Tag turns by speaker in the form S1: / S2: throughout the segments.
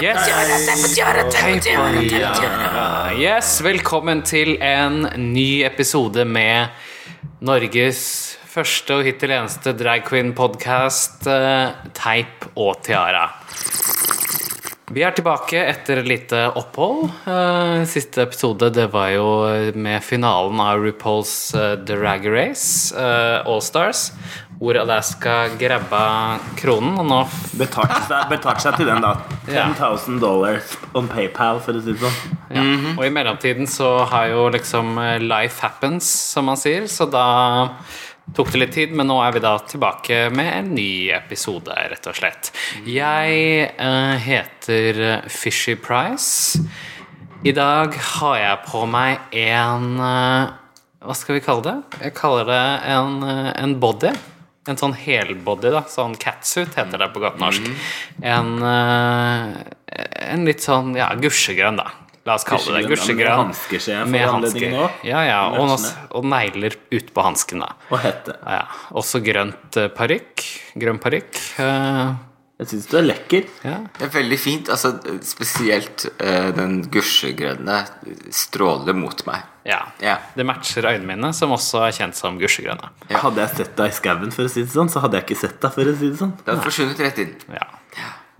S1: Yes. yes, velkommen til en ny episode med Norges første og hittil eneste drag queen-podkast, Teip og Tiara. Vi er tilbake etter et lite opphold. Eh, Siste episode det var jo med finalen av RuPaul's eh, Drag Race, eh, All Stars, hvor Alaska grabba kronen, og nå
S2: Betalte seg, betalte seg til den, da.
S1: Ja.
S2: 10.000 dollars on PayPal, for å si det sånn.
S1: Ja. Og i mellomtiden så har jo liksom eh, life happens, som man sier, så da tok det litt tid, men nå er vi da tilbake med en ny episode, rett og slett. Jeg eh, heter Fishy Price. I dag har jeg på meg en eh, Hva skal vi kalle det? Jeg kaller det en, eh, en body. En sånn helbody, da. Sånn catsuit heter det på godt norsk. En, eh, en litt sånn ja, gusjegrønn, da. La oss kalle det det.
S2: Med
S1: Gusjegrønn.
S2: hansker, ser jeg, for
S1: Med
S2: anledningen
S1: hansker.
S2: nå.
S1: Ja, ja, og,
S2: Med
S1: nos- og negler utpå hansken, da.
S2: Og hette.
S1: Ja, ja. Også grønt eh, parykk. Grønn parykk. eh,
S2: Jeg syns du er lekker.
S1: ja.
S3: Det er veldig fint. altså Spesielt eh, den gusjegrønne stråler mot meg.
S1: ja.
S3: Ja.
S1: Det matcher øynene mine, som også er kjent som gusjegrønne.
S3: Ja.
S2: Hadde jeg sett deg i skauen, for å si det sånn, så hadde jeg ikke sett deg, for å si det sånn.
S3: Det hadde forsvunnet rett inn.
S1: Ja.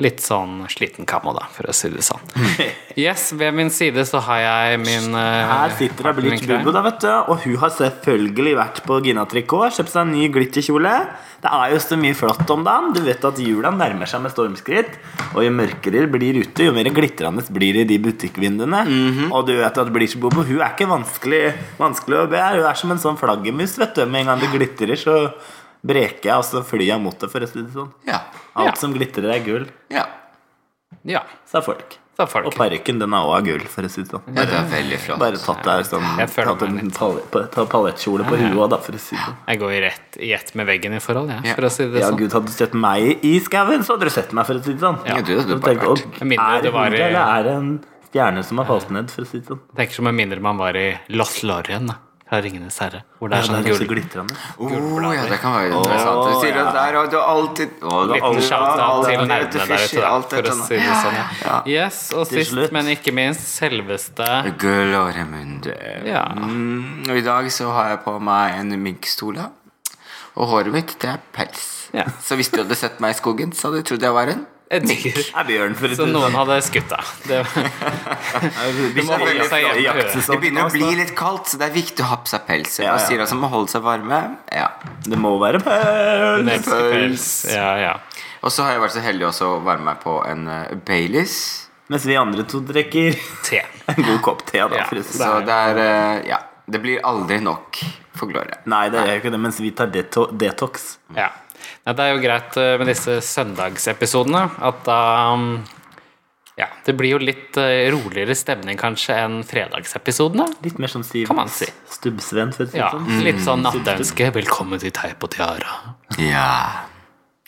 S1: Litt sånn sliten kammo, da, for å si det sånn. Yes, ved min side så har jeg min eh,
S2: Her sitter det
S1: partner
S2: Bleach
S1: i crime.
S2: Bubo, da, vet du. Og hun har selvfølgelig vært på Gina-trikot, kjøpt seg en ny glitterkjole. Det er jo så mye flott om dagen. Du vet at jula nærmer seg med stormskritt. Og jo mørkere det blir ute, jo mer glitrende blir det i de butikkvinduene. Og du vet at Bleach Bubo hun er ikke vanskelig, vanskelig å be. Hun er som en sånn flaggermus, vet du. Med en gang det glitrer, så breker jeg, og så flyr jeg mot det, for å si det sånn.
S3: Ja.
S1: Ja.
S2: Alt som glitrer, er gull,
S3: ja.
S1: Ja,
S2: sa folk.
S1: da får du
S2: Og
S1: ikke.
S2: parykken, den er òg av gull, for å si det sånn.
S3: Ja, det er veldig flott.
S2: Bare tatt deg sånn
S1: Jeg føler
S2: Tatt
S1: meg
S2: en pal- pa- ta palettkjole på huet da, for å si det.
S1: Jeg går i rett i ett med veggen i forhold, jeg,
S3: Ja.
S1: for å si det
S2: Ja,
S1: sånn.
S2: gud, hadde du sett meg i skauen, så hadde du sett meg, for å si det sånn.
S1: Ja,
S3: du hadde
S2: Så
S3: bare
S2: tenkte
S3: vært-
S2: jeg, «Å,
S1: Med mindre
S2: er
S1: det
S2: det
S1: var i-
S2: hodet, eller er det en stjerne som har falt ned, for å si det sånn?
S1: Tenker som med mindre man var i Los Lorien, da, fra Ringenes herre, hvor det
S2: Ja,
S1: er sånn
S2: det er så
S1: gull.
S2: glitrende.
S3: Oh, ja, det kan være interessant. Du sier
S2: ja.
S3: at der har du alltid Å, du har
S1: Liten
S3: alltid-
S1: sånn shout-out til
S3: alltid vært
S1: nerdene der
S3: fishy,
S1: ute, da,
S3: alt
S1: for å
S3: dette
S1: si
S3: nå.
S1: det sånn. Ja.
S3: Ja.
S1: Yes, og
S2: Til
S1: sist,
S2: slutt.
S1: men ikke minst, selveste
S3: Glåremunde.
S1: Ja.
S3: Mm, og i dag så har jeg på meg en minkstole. Og håret mitt, det er pels.
S1: Ja.
S3: Så hvis du hadde sett meg i skogen, så hadde du trodd jeg var en
S1: Jeg digger
S2: Er bjørn, for å si
S1: Så
S2: det
S1: noen
S2: sånn.
S1: hadde skutt deg. Det var
S2: Er vi- vi
S1: må holde
S2: snakker
S1: seg
S2: i- i
S1: hjemme.
S2: jaktsesongen
S3: Det begynner å
S2: også.
S3: bli litt kaldt, så det er viktig å ha på seg pels.
S2: Ja,
S3: Ja,
S2: ja.
S3: Sier altså må holde seg varme. Ja.
S2: Det må være pøl!
S1: Nepspels. Ja, ja.
S3: Og så har jeg vært så heldig også å varme meg på en eh, Baileys.
S2: Mens vi andre to drikker
S1: Te.
S2: en god kopp te, da,
S1: Ja.
S2: for å si det
S3: Så
S2: sånn.
S3: det er eh, Ja. Det blir aldri nok for Gloria.
S2: Nei, det er jo ikke det, mens vi tar deto detox.
S1: Mm. Ja. Nei, det er jo greit eh, med disse søndagsepisodene at da mm, Ja, det blir jo litt eh, roligere stemning kanskje enn fredagsepisodene.
S2: Litt mer som Siv
S1: Kan man si.
S2: Stubbsven, for å si det
S1: Ja,
S2: sånn.
S1: litt sånn nattønske. Velkommen til Teip og Tiara.
S3: Ja.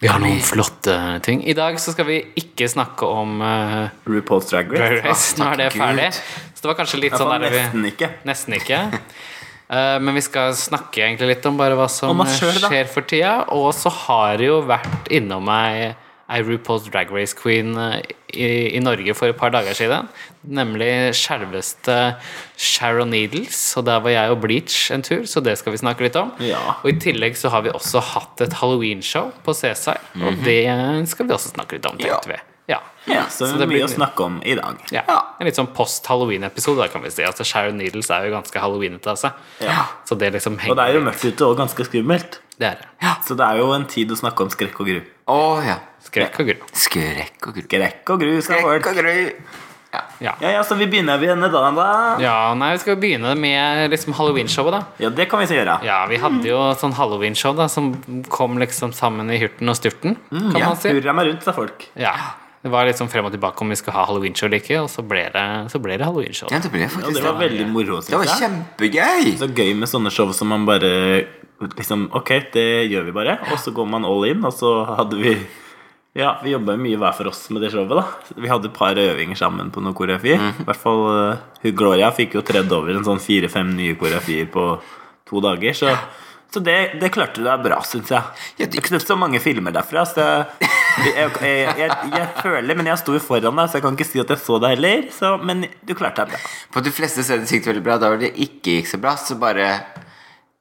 S1: Vi har noen flotte ting. I dag så skal vi ikke snakke om eh,
S2: RuPaul's Drag Race.
S1: Drag Race. Nå
S3: takk
S1: er det
S3: Gud.
S1: ferdig. Så det var kanskje litt
S2: Jeg
S1: sånn
S2: fant
S1: der vi
S2: nesten ikke.
S1: Nesten ikke. Eh, men vi skal snakke egentlig litt om bare hva som
S2: Om oss selv, da.
S1: skjer for tida. Og så har det jo vært innom ei, ei RuPaul's Drag Race Queen eh, i, i Norge for et par dager siden. Nemlig selveste Sharon Needles. Og der var jeg og Bleach en tur, så det skal vi snakke litt om.
S2: Ja.
S1: Og i tillegg så har vi også hatt et Halloween-show på Cæsar, og det skal vi også snakke litt om, tenkte
S3: Ja.
S1: vi. Ja.
S2: Mhm. Ja, så, det blir mye å
S1: litt-
S2: snakke om i dag.
S1: ja. En litt sånn post-halloween-episode, da, kan vi si. Altså, Sharon Needles er jo ganske halloweenete altså. av seg.
S2: Ja.
S1: Så det liksom
S2: Og
S1: henger
S2: det er jo mørkt ute og ganske skummelt.
S1: Det er det.
S2: Så det er jo en tid å snakke om skrekk og gru.
S3: Å ja.
S1: Skrekk og gru.
S3: Skrekk og gru.
S2: Skrekk og gru, skal folk.
S3: Skrekk og gru. Ja.
S1: Ja.
S2: Ja, ja, så vi begynner ved denne dagen, da.
S1: ja, nei, vi skal jo begynne med liksom halloweenshowet, da.
S2: Ja, det kan vi så gjøre.
S1: Ja, vi
S2: Mm.
S1: hadde jo sånn halloweenshow da, som kom liksom sammen i hurten og sturten, kan
S2: Mm, Ja,
S1: man si.
S2: Hurra meg rundt, sa folk.
S1: Ja. Det var liksom frem og tilbake om vi skulle ha halloweenshow eller ikke, og så ble det, så ble det halloweenshow.
S3: ja, det ble
S2: Ja,
S3: faktisk
S2: det
S3: det.
S2: var veldig moro,
S3: Det var
S2: synes jeg.
S3: kjempegøy.
S2: Så gøy med sånne show som man bare liksom Ok, det gjør vi bare. Og så går man all in, og så hadde vi Ja, vi jobba mye hver for oss med det showet, da. Vi hadde et par øvinger sammen på noe koreografi.
S3: Mhm.
S2: I hvert fall eh, hun Gloria fikk jo tredd over en sånn fire-fem nye koreografier på to dager, så så det, det klarte du deg bra, syns jeg.
S3: Ja,
S2: Det
S3: det-
S2: er ikke så mange filmer derfra, så Jeg, jeg, jeg, jeg føler, men jeg sto jo foran deg, så jeg kan ikke si at jeg så deg heller. Så, men du klarte deg bra.
S3: På de fleste steder gikk det veldig bra. Da hvor det ikke gikk så bra, så bare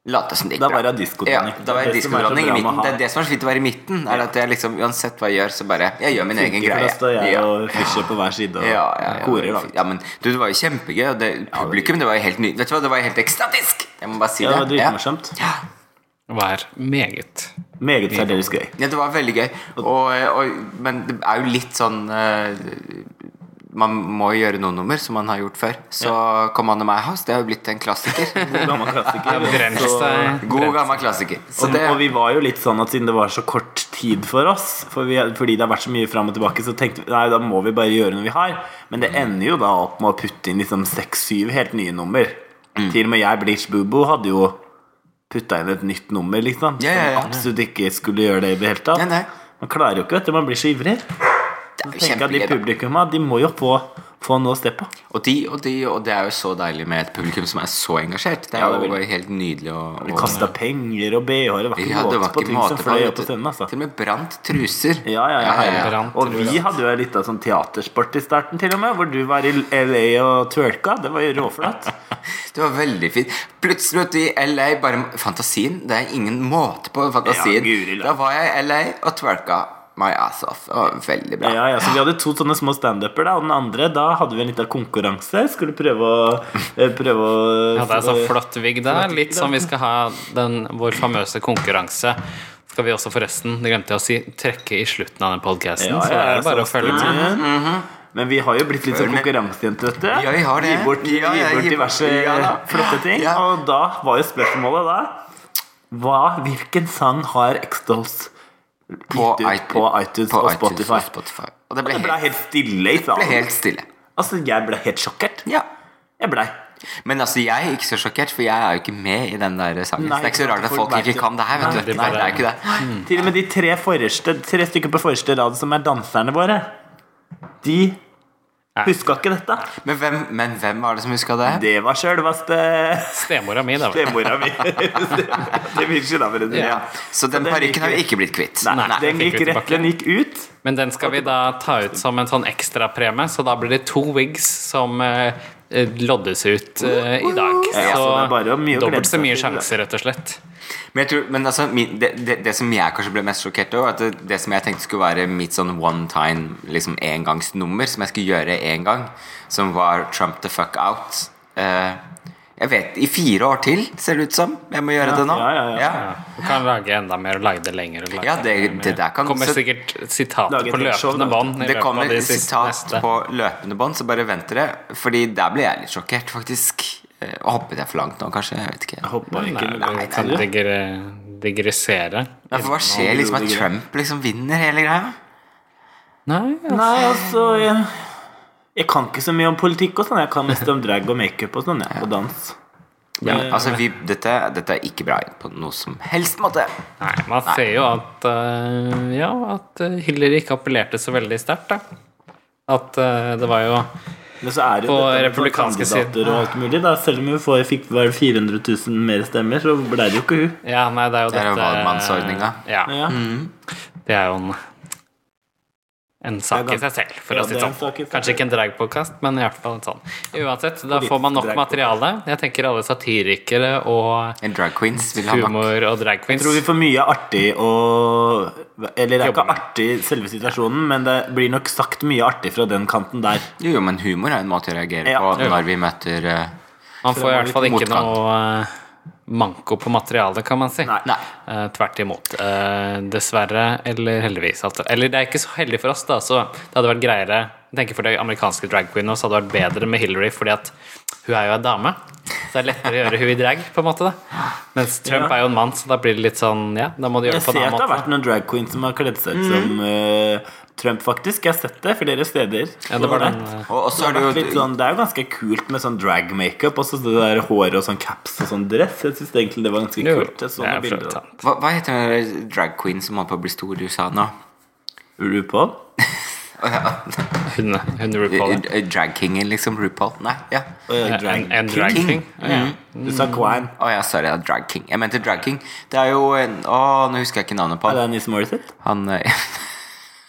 S3: late som det gikk
S2: Da
S3: bra.
S2: var det diskodronning.
S3: Ja, da var
S2: Det
S3: jeg
S2: er det som er så
S3: diskodronning i
S2: bra med å
S3: midten.
S2: ha-
S3: Det er det som er så fint å være i midten. Er at jeg liksom, Uansett hva jeg gjør, så bare Jeg gjør min
S2: Ikke
S3: egen
S2: for
S3: greie.
S2: da står jeg
S3: Ja.
S2: og Fischer på hver side og
S3: Ja, ja, ja,
S2: korer. da.
S3: ja, men du, det var jo kjempegøy. Og det, publikum, det var jo helt ny Vet du hva, det var helt ekstatisk! Jeg må bare si
S2: Ja, det var
S3: det. Ja.
S2: dritmorsomt.
S3: Ja.
S1: Var meget.
S2: Meget særdeles gøy.
S3: Ja, det var veldig gøy. Og, og, men det er jo litt sånn eh, Man må jo gjøre noen nummer, som man har gjort før. Så kom han og meg hans. Det har jo blitt en klassiker.
S2: God gammel klassiker.
S1: Brent seg.
S3: God, gammel klassiker. Så
S2: Og,
S3: det,
S2: og vi var jo litt sånn at siden det var så kort tid for oss, for vi, fordi det har vært så mye fram og tilbake, så tenkte vi nei, da må vi bare gjøre noe vi har. Men det ender jo da opp med å putte inn liksom seks-syv helt nye nummer.
S3: Mm.
S2: Til og med jeg, Bleach Boobo, hadde jo putta inn et nytt nummer, liksom.
S3: Ja, ja, ja.
S2: Som absolutt ikke skulle gjøre det i det hele tatt.
S3: Nei, nei.
S2: Man klarer jo ikke, vet du. Man blir så ivrig.
S3: det er jo
S2: Tenk at de
S3: kjempegøy. da.
S2: publikumma, de må jo få, få noe å se på.
S3: Og, de, og, de, og det er jo så deilig med et publikum som er så engasjert. Det er
S2: Ja, det
S3: jo
S2: er veldig-
S3: bare helt nydelig å,
S2: De
S3: å
S2: kasta penger og bh-er. Det var ikke
S3: ja, det
S2: måte
S3: var
S2: på
S3: ikke
S2: ting
S3: måte
S2: som fløy
S3: vet
S2: opp på
S3: du.
S2: scenen, altså.
S3: Til og med brant truser.
S2: Ja, ja, ja.
S3: Ja, ja,
S1: ja.
S2: Og vi hadde jo litt av sånn teatersport i starten, til og med. Hvor du var i LA og twerka. Det var jo råflatt.
S3: Det var veldig fint. Plutselig vet du, i LA bare Fantasien. Det er ingen måte på fantasien.
S2: Ja, guri land.
S3: da var jeg i LA og twerka my ass off. Det var veldig bra.
S2: Ja, ja, så vi hadde to sånne små standuper, da. Og den andre, da hadde vi en liten konkurranse. Skulle prøve å eh, Prøve å
S1: Ja, det er så flott vigg der.
S2: Flott vigg
S1: Litt som vi skal ha den, vår famøse konkurranse. Skal vi også forresten, det glemte jeg å si, trekke i slutten av den podkasten.
S2: Ja,
S1: Så
S2: ja,
S1: er det bare
S2: så
S1: å følge med.
S2: stødig.
S3: Mm,
S2: Men vi har jo blitt litt sånn
S3: Følg med.
S2: konkurransejenter, vet du.
S3: Ja, vi har det.
S2: Gir bort,
S3: Ja, ja,
S2: gir bort
S3: gi-
S2: diverse
S3: ja, da.
S2: flotte ting.
S3: Ja.
S2: Og da var jo spørsmålet da hva, Hvilken sang har X-Dolls
S3: På
S2: gitt ut
S3: iTunes-
S2: på iTunes
S3: på
S2: og
S3: iTunes og
S2: Spotify?
S3: Spotify. Og det ble,
S2: Det ble
S3: helt,
S2: helt stille i
S3: ble
S2: salen.
S3: helt stille.
S2: Altså, jeg ble helt sjokkert.
S3: Ja.
S2: Jeg blei.
S3: Men altså, jeg er ikke så sjokkert, for jeg er jo ikke med i den der sangen.
S2: Nei,
S3: så det er ikke så rart at
S2: folk
S3: folk
S2: vet
S3: ikke
S2: det.
S3: kan det her.
S2: Nei,
S3: vet du
S1: det er
S3: Nei,
S1: bare-
S3: det er ikke det.
S2: Til og med de tre, forreste, tre stykker på forreste rad som er danserne våre, de huska ikke dette.
S3: Men hvem, men hvem var det som huska det?
S2: Det var sjølveste
S1: Stemora mi, da. vel.
S2: stemora mi. Det blir ikke da, for å si det.
S3: Ja. Så den
S2: den gikk
S3: parykken har vi
S2: ut.
S3: ikke blitt kvitt.
S2: Nei,
S1: Nei,
S2: den
S1: fikk
S2: gikk
S1: vi
S2: rett,
S1: tilbake.
S2: den gikk ut.
S1: Men den skal vi da ta ut som en sånn ekstrapremie, så da blir det to wigs som eh, eh, loddes ut eh, i dag. Så
S2: Ja, så det er bare mye å glede
S1: dobbelt så
S2: seg
S1: mye
S2: til, da.
S1: sjanser, rett og slett.
S3: Men, jeg tror, men altså, min, det, det, det som jeg kanskje ble mest sjokkert over, var at det, det som jeg tenkte skulle være mitt sånn one time, liksom engangsnummer, som jeg skulle gjøre én gang, som var Trump the fuck out. Eh, jeg vet I fire år til, ser det ut som. Jeg må gjøre det nå.
S2: ja, ja, ja.
S1: Du kan lage enda mer og lage det lenger. Og lage
S3: Ja, det-
S1: mer.
S3: det der kan-
S1: kommer
S3: så-
S1: sikkert
S2: Lage
S1: sitater
S2: et
S1: på
S2: helt show, da.
S1: løpende bånd. i
S3: Det
S1: løpet av
S3: kommer
S1: de siste-
S3: sitat
S1: neste.
S3: på løpende bånd, så bare vent dere. Fordi der ble jeg litt sjokkert, faktisk. Eh, hoppet jeg for langt nå, kanskje? Jeg vet ikke.
S2: Hoppa
S1: Nei,
S2: ikke
S1: nei, vi kan
S2: du?
S1: digre- digressere.
S3: Ja, for hva skjer liksom at Trump liksom vinner hele greia?
S1: Nei, ja.
S2: Nei, altså jeg, jeg kan ikke så mye om politikk og sånn. Jeg kan mest om drag og makeup og sånn, jeg. Og dans.
S3: Ja, altså, vi, dette, dette er ikke bra på noe som helst måte.
S1: nei man ser jo at eh, Ja, at eh, Hillary ikke appellerte så veldig sterkt, da. At eh, det var jo
S2: Men så er det jo
S1: På
S2: dette med
S1: republikanske
S2: kandidater
S1: siden.
S2: Og alt mulig, da. Selv om hun får, fikk bare 400 000 mer stemmer, så ble det jo ikke hun.
S1: Ja, nei, det er jo
S3: Det er jo
S1: dette
S3: valgmannsordninga.
S1: Ja,
S2: Ja.
S1: det er jo en en sak i
S2: Det
S1: seg
S2: er
S1: selv, for
S2: ja,
S1: å si
S2: det
S1: det
S2: er en
S1: sånn.
S2: sak i seg
S1: Kanskje ikke en dragpodkast, men i hvert fall en sånn. Uansett, da
S2: litt
S1: får man nok
S2: dragpodcast.
S1: materiale. Jeg tenker alle satirikere og
S3: En drag queens vil ha nok.
S1: humor og drag queens.
S2: tror vi får mye artig og Eller det
S1: Jobbe
S2: er ikke
S1: med.
S2: artig selve situasjonen, men det blir nok sagt mye artig fra den kanten der.
S3: Jo, jo, men humor er en måte å reagere
S2: Ja.
S3: på
S1: Ja.
S3: når vi møter eh,
S1: Man får i hvert fall ikke
S3: Motgang.
S1: noe eh, manko på materialet, kan man si.
S2: Nei.
S3: Nei.
S1: Eh, Tvert imot. Eh, Dessverre, eller heldigvis. at- Eller det er ikke så heldig for oss, da. Så det hadde vært greiere jeg tenker for det amerikanske drag queen også, hadde det vært bedre med Hillary, fordi at hun er jo en dame. Så det er lettere å gjøre hun i drag, på en måte. da Mens Trump
S2: Ja.
S1: er jo en mann, så da blir det litt sånn Ja, da må du gjøre
S2: Jeg
S1: det på
S2: ser
S1: en
S2: at
S1: annen
S2: det har
S1: måte.
S2: vært noen drag queens som har kledd seg ut som eh, Trump, faktisk. Jeg har sett det flere steder.
S1: Ja, det var
S2: Så
S1: den,
S2: det
S1: eh,
S3: Og og så
S2: har
S3: er det
S2: vært litt
S3: jo
S2: sånn, det er jo ganske kult med sånn drag-makeup. Og så det der håret og sånn caps og sånn dress. Jeg syns egentlig det var ganske
S1: Jo,
S2: kult. Jeg så noen
S1: det er
S2: bilder
S1: for
S2: av
S1: sant.
S3: hva, hva heter den der drag queen som holder på å bli stor i USA nå?
S2: RuPaul.
S1: Hun, hun RuPaul.
S3: Eh, eh, Dragkingen, liksom. RuPaul. Nei, ja.
S2: Og, eh, drag.
S1: En,
S2: Mm.
S1: en drag
S3: King.
S1: king. Ja.
S2: Du sa Quine.
S3: Å ja, sorry. ja, Drag King. Jeg mente Drag King. Det er jo en Å, nå husker jeg ikke navnet på
S2: Er
S3: han.
S2: det Nis Morissette?
S3: Han eh,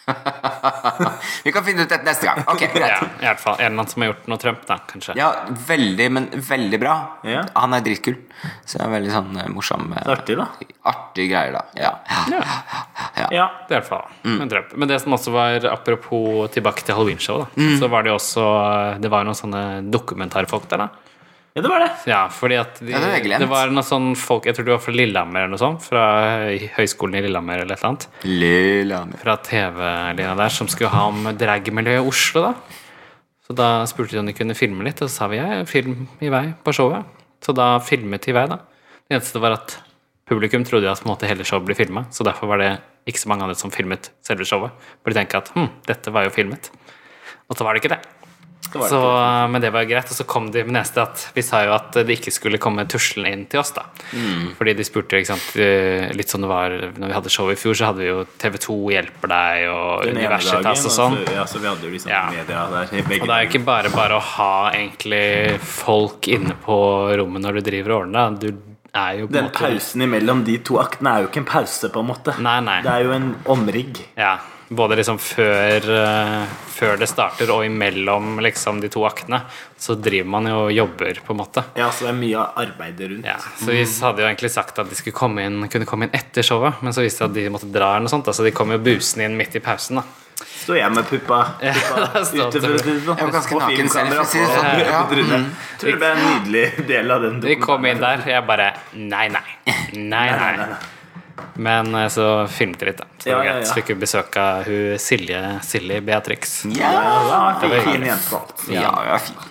S3: Vi kan finne ut dette neste gang. Ok,
S1: Ja,
S3: greit.
S1: i hvert fall En eller annen som har gjort noe Trump, da, kanskje.
S3: Ja, veldig, men veldig bra.
S2: Ja.
S3: Han er dritkul. Så det er veldig sånn eh, morsom eh,
S2: Artig, da.
S3: Artige greier, da. Ja.
S2: Ja.
S1: Det er i hvert fall en drøm. Men det som også var apropos tilbake til Halloween-showet, da, så var det jo også eh, Det var noen sånne dokumentarfolk der, da.
S2: ja, det var det.
S1: Ja, fordi at de,
S3: Ja, det har jeg
S1: det,
S3: glemt.
S1: var noen sånn folk Jeg tror de var fra Lillehammer eller noe sånt. Fra Høgskolen i Lillehammer eller et eller annet.
S3: Lillehammer.
S1: Fra TV-linja der som skulle ha om dragmiljøet i Oslo, da. Så da spurte de om de kunne filme litt, og så sa vi ja, film i vei på showet. Så da filmet de i vei, da. Det eneste var at publikum trodde at på en måte hele showet ble filma, så derfor var det ikke så mange andre som filmet selve showet. For de tenkte at hm, dette var jo filmet. Og så var det ikke det.
S2: var det
S1: Så, men det var jo greit, og så kom de med neste at vi sa jo at det ikke skulle komme tuslende inn til oss, da.
S2: Mm.
S1: Fordi de spurte, ikke sant, eh, litt som det var når vi hadde show i fjor, så hadde vi jo TV2 hjelper deg og
S2: Den ene
S1: Universitas
S2: dagen,
S1: og sånn.
S2: så- altså, Ja, så vi hadde jo liksom
S1: Ja.
S2: media der. i
S1: Og
S2: Begge
S1: det er jo ikke bare bare å ha egentlig folk inne på rommet når du driver og ordner, da. Du er jo på en
S2: Den
S1: måte
S2: pausen imellom de to aktene er jo ikke en pause, på en måte.
S1: Nei, nei.
S2: Det er jo en omrigg.
S1: Ja. Både liksom før, eh, før det starter og imellom liksom de to aktene, så driver man jo og jobber, på en måte.
S2: Ja, så det er mye arbeid rundt.
S1: Ja, så vi hadde jo egentlig sagt at de skulle komme inn, kunne komme inn etter showet, men så viste det at de måtte dra eller noe sånt, da, så de kom jo busende inn midt i pausen, da.
S2: Står jeg med puppa, puppa
S1: da står
S2: ute
S1: du.
S2: for å si det sånn.
S3: Jeg var ganske
S2: På
S3: naken selv,
S2: filmkamera
S3: for å si det
S2: på-
S3: sånn. Ja.
S2: rundt runde. Tror det ble en nydelig del av den
S1: De
S2: dokumentaren.
S1: kom inn der, og jeg bare Nei, nei. Nei, nei. Men eh, så filmet de litt, da. Så det var
S2: Ja, ja,
S1: greit.
S2: ja.
S1: Så fikk vi besøk av hun Silje, Silje Beatrix.
S3: Ja,
S2: Ja,
S1: Det
S2: det var en
S1: var
S2: fin jente, altså.
S3: ja, ja fint.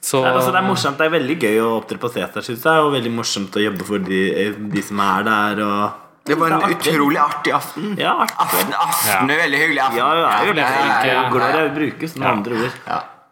S1: Så
S2: Nei, altså, det er morsomt, det er veldig gøy å opptre på Seter, synes jeg, og veldig morsomt å jobbe for de, eh, de som er der. Og...
S3: Det var en
S2: er artig.
S3: utrolig artig aften.
S2: Ja, artig.
S3: Aften, aften, veldig hyggelig aften.
S2: Ja, ja, jeg
S1: for det er
S2: er
S1: ikke-
S2: jo glad jeg brukes med
S1: Ja.
S2: andre ord.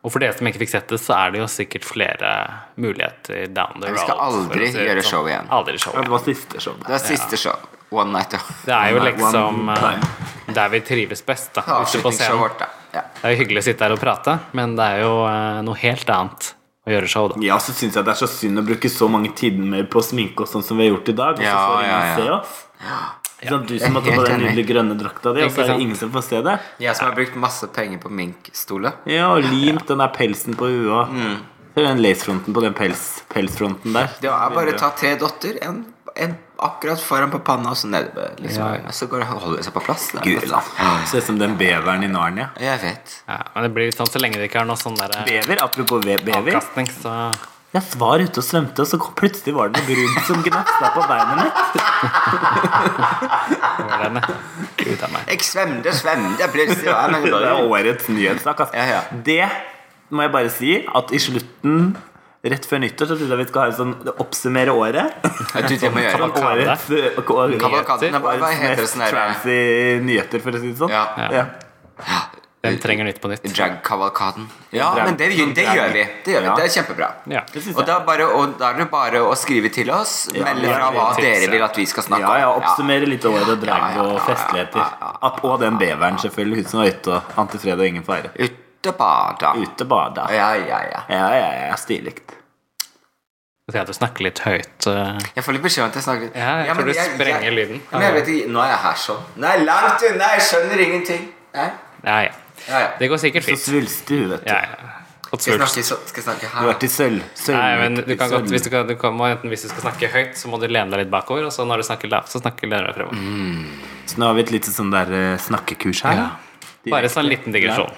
S1: Og for dere som ikke fikk sett det, så er det jo sikkert flere muligheter down the road.
S3: Vi skal aldri
S1: for å si det
S3: gjøre
S1: sånn.
S3: show igjen.
S1: Aldri show
S2: Det
S1: igjen.
S2: var siste showet.
S3: Det er siste show. One night, ja.
S1: Det er jo
S2: One-
S1: liksom
S2: one
S1: eh,
S2: time.
S1: der vi trives best, da. Ute på
S3: Avslutningsshowet
S1: scenen.
S3: vårt, da. Ja.
S1: Det er jo hyggelig å sitte her og prate, men det er jo eh, noe helt annet å gjøre show, da.
S2: Ja, så syns jeg det er så synd å bruke så mange timer på sminke og sånn som vi har gjort i dag. Og så
S3: Ja,
S2: får ingen
S3: ja, ja.
S2: se oss. Sånn, du som
S3: Jeg
S2: har tatt
S3: er
S2: på den
S3: helt enig.
S2: nydelige grønne drakta di, og
S1: Ikke
S2: så er
S1: sant?
S2: det ingen som får se det.
S3: Jeg som har brukt masse penger på minkstole.
S2: Ja, og limt den der pelsen på huet. Mm. Den lacefronten på den pels, pelsfronten der.
S3: Det er bare å ta tre dotter, en, en akkurat foran på panna og så nede. Liksom.
S1: Ja.
S3: Så går det, holder det seg på plass. Det er
S2: Gud,
S3: plass.
S2: da. Ser ut som den beveren i Narnia.
S3: Jeg vet.
S1: Ja, men det blir litt sånn så lenge det ikke er noe sånn derre
S2: Bever, apropos ve- bever.
S1: avkastning, så
S2: Jeg var ute og svømte, og så kom, plutselig var det noe brunt som gnafsa på beinet mitt.
S1: går den ned. Gud a meg.
S3: Jeg svømte, svømte plutselig. Ja, men det
S2: Det
S3: var
S2: er
S3: jo-
S2: årets nyhetssak. ass.
S3: Ja, ja.
S2: Det må jeg bare si at i slutten, rett før nyttår, så trodde jeg vi skal ha en sånn oppsummere året.
S3: Jeg tror det må jeg gjøre.
S1: Kavalkade.
S2: Årets, eh, og- og-
S3: Kavalkaden, hva hva
S2: årets
S3: heter det
S2: mest
S3: sånn der?
S2: trancy nyheter, for å si det sånn.
S3: Ja.
S2: Ja.
S1: Den trenger nytt på nytt.
S3: Drag-kavalkaden. Ja, men det, gjør- det gjør vi. Det gjør vi,
S2: Ja.
S3: det er kjempebra.
S1: Ja.
S2: Det synes
S3: Og
S2: jeg.
S3: da, er bare, og da er det bare å skrive til oss, melde
S2: ja,
S3: fra
S2: det
S3: hva
S1: er tips,
S3: dere vil
S1: ja.
S3: at vi skal snakke
S2: Ja,
S3: om.
S2: ja, oppsummere litt året og
S3: Ja,
S2: drag
S3: ja, ja,
S2: og
S3: ja,
S2: festligheter.
S3: ja, ja,
S2: At- Og den beveren, selvfølgelig. Hun som var ute og ante fred og ingen fare.
S3: Ute bada.
S2: Ute bada. Ja,
S3: Ja, ja, ja.
S2: ja, ja, stilig.
S1: Så jeg hadde snakket litt høyt. eh.
S3: Jeg får litt beskjed om at jeg snakker litt
S1: Ja, jeg tror du sprenger lyden.
S3: Ja, Men jeg vet ikke, Nå er jeg her sånn. Nei, langt unna! Jeg skjønner ingenting. Nei.
S1: Ja, ja.
S3: Ja, ja.
S1: Det går sikkert
S2: Så
S1: fint.
S2: svulstig hun, vet du.
S1: Ja, ja. Fått
S3: Skal
S1: svulst.
S3: jeg snakke, så- skal jeg snakke
S2: Du har
S3: her?
S2: vært i sølv. sølv
S1: Nei, men du kan godt,
S2: sølv-
S1: hvis du, kan, du kan, må enten hvis du skal snakke høyt, så må du lene deg litt bakover, og så når du snakker lavt, så snakker du deg fremover.
S3: Mm.
S2: Så nå har vi et lite sånn der eh, snakkekurs her.
S1: Bare sånn liten digresjon.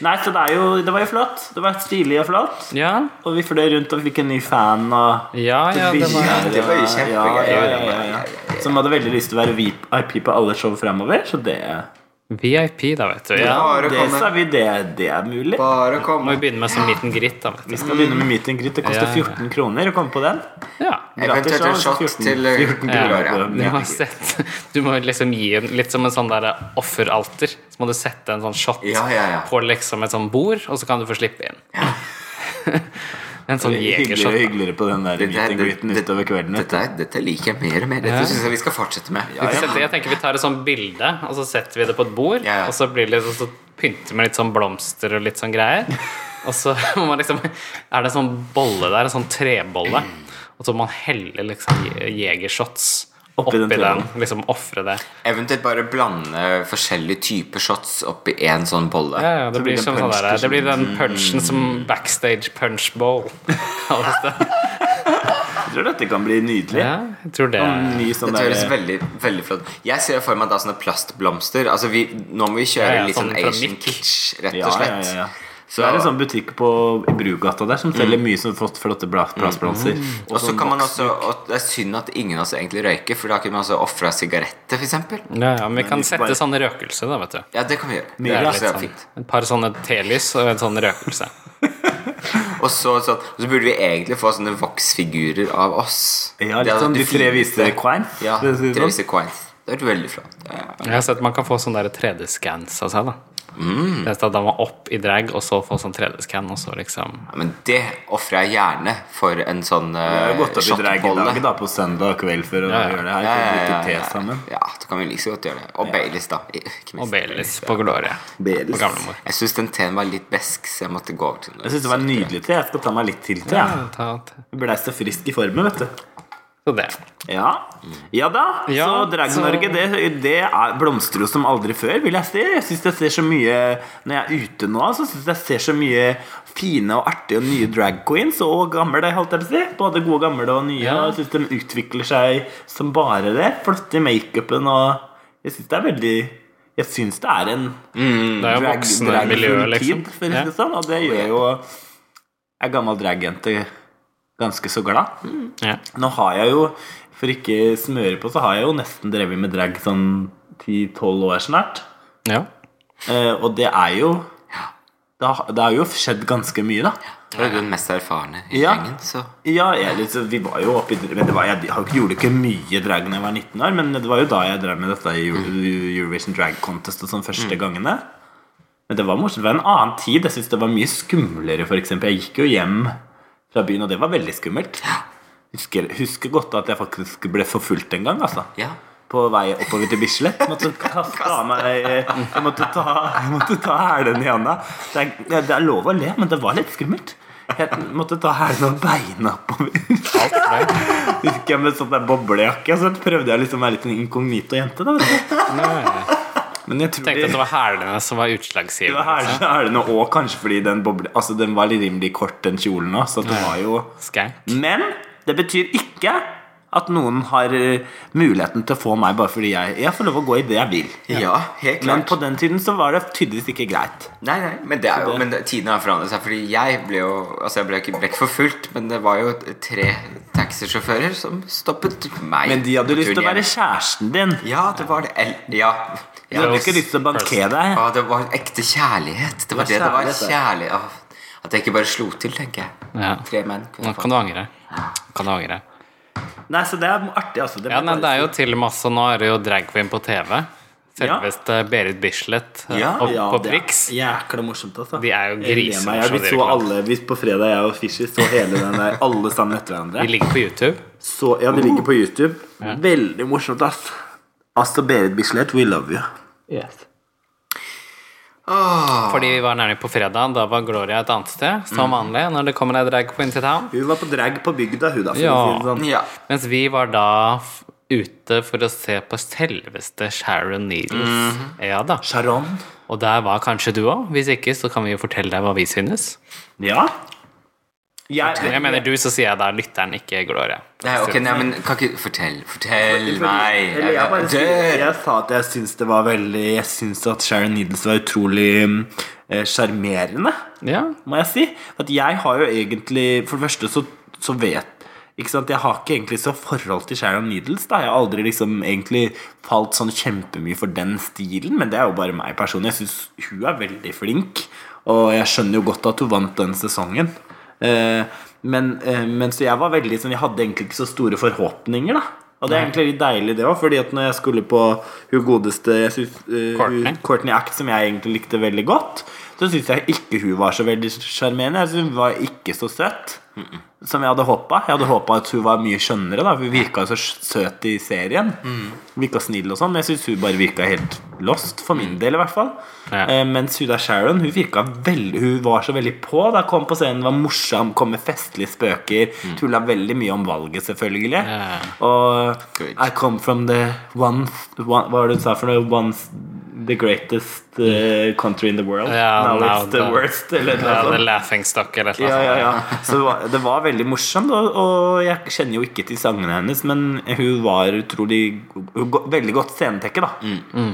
S2: Nei, så det, er jo, det var jo flott. Det var stilig og flott.
S1: Ja,
S2: Og vi fløy rundt og fikk en ny fan. Og
S1: ja, ja det var
S3: Ja, det var jo kjempegøy.
S2: Ja, ja, ja, ja, ja, ja. Som hadde veldig lyst til å være VIP på alle show fremover. Så det,
S1: VIP, da, vet du. Ja.
S3: Bare
S2: det
S3: komme.
S2: sa vi det, det er mulig.
S3: Bare
S1: Må
S3: komme.
S1: vi begynne med sånn liten gritt, da, vet
S2: Vi
S1: du.
S2: skal begynne med meet and greet. Det koster
S1: Ja, ja.
S2: 14 kroner å komme på den.
S1: Ja.
S3: Eventuelt en
S2: Gratis show,
S3: shot
S2: 14
S3: til eh,
S2: 14 kroner.
S3: Gloria.
S2: på
S1: Du
S2: meet
S1: må,
S2: and greet.
S1: sette, du må liksom gi en, litt som en sånn der offeralter. Så må du sette en sånn shot
S3: Ja, ja, ja.
S1: på liksom et sånn bord, og så kan du få slippe inn. en sånn
S2: Hyggeligere,
S1: jegershot.
S2: hyggeligere på den der
S3: Dette
S2: meet
S3: er-
S2: and greeten
S3: dette-
S2: utover kvelden. vet du.
S3: Dette, er- dette liker jeg mer og mer.
S1: Ja.
S3: Dette syns jeg vi skal fortsette med. Ja, ja.
S1: Sette- Jeg tenker vi tar et sånt bilde, og så setter vi det på et bord,
S3: Ja, ja.
S1: og så blir det liksom, så pynter med litt sånn blomster og litt sånn greier. Og så må man liksom Er det en sånn bolle der, en sånn trebolle, og så må man helle liksom je- jegershots
S2: Oppi den
S1: oppi den.
S2: tuben.
S1: Liksom ofre det.
S3: Eventuelt bare blande forskjellige typer shots oppi én sånn bolle.
S1: Ja, ja, det,
S2: Så blir
S1: blir
S2: det
S1: som
S2: punch
S1: sånn der,
S2: til
S1: det blir den punchen som backstage punch bowl kalles det.
S2: Jeg tror dette kan bli nydelig.
S1: Ja, jeg tror det.
S2: En ny sånn
S3: Dette høres
S2: der,
S3: liksom veldig, veldig flott Jeg ser for meg da sånne plastblomster. Altså vi, Nå må vi kjøre
S1: Ja, ja,
S3: litt sånn
S1: sånn fra
S3: Asian
S1: Nick.
S3: kitsch, rett
S2: Ja,
S3: og
S2: ja, ja,
S3: slett.
S2: ja.
S3: Så, Mm.
S2: det er en sånn butikk på, i Brugata der som selger mye sånn flott- flotte bla- plastblomster.
S3: og
S2: sånn
S3: så kan man også og Det er synd at ingen av oss egentlig røyker, for da kunne man også ofra sigaretter, f.eks.
S1: Ja, ja, men vi kan
S2: vi får
S1: sette
S2: bare-
S1: sånn røkelse, da, vet du.
S3: Ja, det kan vi gjøre.
S2: Mye
S3: det er
S2: glass,
S3: også
S1: Litt sånn,
S3: fint.
S1: et par sånne telys og en sånn røkelse.
S3: Og så, sånn- og så burde vi egentlig få sånne voksfigurer av oss.
S2: Ja,
S3: Det
S2: litt
S3: hadde
S2: sånn
S3: vært
S2: de
S3: det
S2: tre
S3: fine.
S2: viste Quines.
S3: Ja,
S2: for å si det sånn.
S3: Therese Quines. Det hadde vært veldig flott. Ja, ja.
S1: Jeg har sett Man kan få sånn 3D-scans av seg. da
S2: Mm.
S1: Det er at Da må opp i drag, og så få sånn 3D-scan, og så liksom
S3: Ja, Men det ofrer jeg gjerne for en sånn
S2: Jeg har
S3: uh,
S2: gått opp i drag i dag da, på søndag kveld for å
S1: Ja, ja.
S2: gjøre det her.
S3: Ja,
S2: for å
S3: ja, ja,
S2: drikke
S3: ja,
S2: te
S3: ja.
S2: sammen.
S3: ja, da kan vi like så godt gjøre det. Og Baileys, da. I- ikke minst.
S1: Og Baileys på Gloria. På gamlemor.
S3: Jeg syns den teen var litt besk, så jeg måtte gå over til
S2: Jeg syns det var nydelig te. Jeg skal ta meg litt til til. jeg.
S1: Ta- ta-
S2: Vi Blei så frisk i formen, vet du.
S1: Så det.
S2: Ja, ja da.
S1: Ja,
S2: så Drag-Norge,
S1: så-
S2: det, det er blomstrer jo som aldri før, vil jeg si. Jeg syns jeg ser så mye Når jeg er ute nå, så syns jeg ser så mye fine og artige og nye drag queens og gamle, holdt jeg på å si. Både gode gamle og nye.
S1: Ja.
S2: og Jeg syns de utvikler seg som bare det. Flotte i makeupen og Jeg syns det er veldig Jeg syns det er en
S1: Det er jo
S2: Mm, drag,
S1: voksne
S2: drag
S1: miljø,
S2: full
S1: liksom.
S2: tid, for å
S1: Ja.
S2: si det sånn. Og det gjør jo ei gammel dragjente ganske så glad.
S1: Ja.
S2: Nå har jeg jo, for ikke smøre på, så har jeg jo nesten drevet med drag sånn 10-12 år snart.
S1: ja.
S2: Eh, og det er jo det har, det har jo skjedd ganske mye, da.
S3: Du er jo den mest erfarne i
S2: Ja.
S3: gjengen, så
S2: Ja, jeg, liksom, vi var jo oppe i men det var, Jeg har- gjorde ikke mye drag da jeg var 19 år, men det var jo da jeg drev med dette i Euro- Eurovision Drag Contest og sånn første gangene. Men det var morsomt. Det var en annen tid. Jeg synes det var mye skumlere, for eksempel Jeg gikk jo hjem fra byen, og det var veldig skummelt. Husker, husker godt at jeg faktisk ble forfulgt en gang, altså.
S3: ja.
S2: På vei oppover til Bislett. Jeg Måtte kaste av meg eh, Jeg måtte ta, jeg måtte ta hælen i hånda. Det er, det er lov å le, men det var litt skummelt. Jeg måtte ta hælen og beina oppover.
S1: Alt for deg.
S2: Husker jeg med sånn der boblejakke Så prøvde jeg liksom å være litt en inkognito jente da vet du.
S1: Ja, ja, ja.
S2: Men jeg tror
S1: Tenkte at det
S2: det
S1: var hælene som var
S2: det var
S1: utslagsgivende.
S2: hælene hælene Og kanskje fordi den boble Altså den var litt rimelig kort den kjolen også Så det var jo
S1: Skank.
S2: Men det betyr ikke At noen har eh, muligheten til å få meg Bare fordi jeg Jeg får lov å gå i det jeg vil
S3: ja, helt
S2: Men
S3: klart.
S2: på den tiden så var det tydeligvis ikke greit
S3: Nei, nei, men, det er jo,
S2: det-
S3: men det- tidene har forandret seg. Fordi jeg ble jo Altså, jeg ble ikke, ble ikke forfulgt, men det var jo tre taxisjåfører som stoppet meg.
S2: Men de hadde
S3: på
S2: lyst til å
S3: turen
S2: være
S3: hjem.
S2: kjæresten din De
S3: Ja, det var det. El- Ja. ja.
S2: hadde ikke lyst til å banke deg
S3: Ja, det var ekte kjærlighet. Det var
S2: Det
S3: det
S2: var
S3: det
S2: kjærlighet, det.
S3: var. Kjærlighet. Åh, At jeg ikke bare slo til, tenker jeg.
S1: Ja.
S3: Tre menn. kunne
S1: Nå
S3: jeg
S1: kan du angre. Nå Kan du angre.
S2: Nei, så det er artig altså
S1: Ja, nei,
S2: må jeg
S1: det
S2: bare
S1: er jo til og med også Nå er det jo drag queen på TV. Selveste Berit Bislett eh,
S2: Ja,
S1: og,
S2: ja,
S1: på
S2: det er
S1: Prix.
S2: Jækla morsomt, altså.
S1: De er jo
S2: Jeg ler
S1: griser,
S2: meg. Jeg,
S1: så
S2: vi
S1: det er
S2: så
S1: klart.
S2: alle vi på fredag, jeg og Fischer, så hele den der alle sammen etter
S1: De
S2: hverandre.
S1: ligger på YouTube.
S2: Så, ja, det ligger på YouTube. Veldig morsomt, ass. Altså, Berit Bislett, we love you.
S1: Fordi vi var nærmere på fredag, da var Gloria et annet sted,
S2: Mm.
S1: som vanlig, når det kommer ei drag queen til town.
S2: Hun var på drag på bygda, hun, da. For
S1: Ja.
S2: å si det sånn.
S3: få. Ja.
S1: Mens vi var da f- ute for å se på selveste Sharon Needles.
S2: Mhm.
S1: Ja da.
S2: Sharon.
S1: Og der var kanskje du òg. Hvis ikke, så kan vi jo fortelle deg hva vi synes.
S2: Ja. Jeg,
S1: Jeg mener du, så sier jeg da lytteren, ikke Gloria.
S3: Nei, ok, nei, men kan ikke Fortell. Fortell
S2: Fordi-
S3: meg.
S2: Eller jeg, bare, sier-
S3: dør.
S2: jeg sa at jeg syns det var veldig Jeg syns at Sharon Needles var utrolig eh, sjarmerende.
S1: Ja.
S2: må jeg si. At jeg har jo egentlig For det første så, så vet ikke sant? Jeg har ikke egentlig så forhold til Sharon Needles. Da. Jeg har aldri liksom egentlig falt sånn kjempemye for den stilen, men det er jo bare meg personlig. Jeg syns hun er veldig flink, og jeg skjønner jo godt at hun vant den sesongen. Eh, men, eh, men så jeg var veldig sånn Jeg hadde egentlig ikke så store forhåpninger, da. Og det er egentlig litt deilig, det òg, fordi at når jeg skulle på hun godeste jeg synes, eh,
S1: Courtney.
S2: hun- Courtney Act, som jeg egentlig likte veldig godt. så syns jeg ikke hun var så veldig sjarmerende. Jeg synes Hun var ikke så søt som jeg hadde håpa. Jeg hadde håpa at hun var mye skjønnere, da. for Hun virka jo så søt i serien. Virka snill og sånn, men jeg syns hun bare virka helt lost, for min del i hvert fall.
S1: Ja.
S2: Eh, mens hun der Sharon, hun virka veldig Hun var så veldig på. Da kom på scenen, var morsom, kom med festlige spøker. Tulla veldig mye om valget, selvfølgelig.
S1: Ja.
S2: Og
S3: Good.
S2: I come from the one, one Hva var det du sa for noe? One, the greatest eh, country in the world.
S1: Ja,
S2: now,
S1: now
S2: it's the,
S1: the-
S2: worst. Eller noe
S1: Ja,
S2: sånt.
S1: The Laughing Stock eller et eller
S2: Altså. Ja,
S1: annet.
S2: ja, ja. Så det var, det var veldig morsomt, og, og jeg kjenner jo ikke til sangene hennes, men hun var utrolig hun go- Veldig godt scenetekke, da.
S3: Mm.
S1: Mm.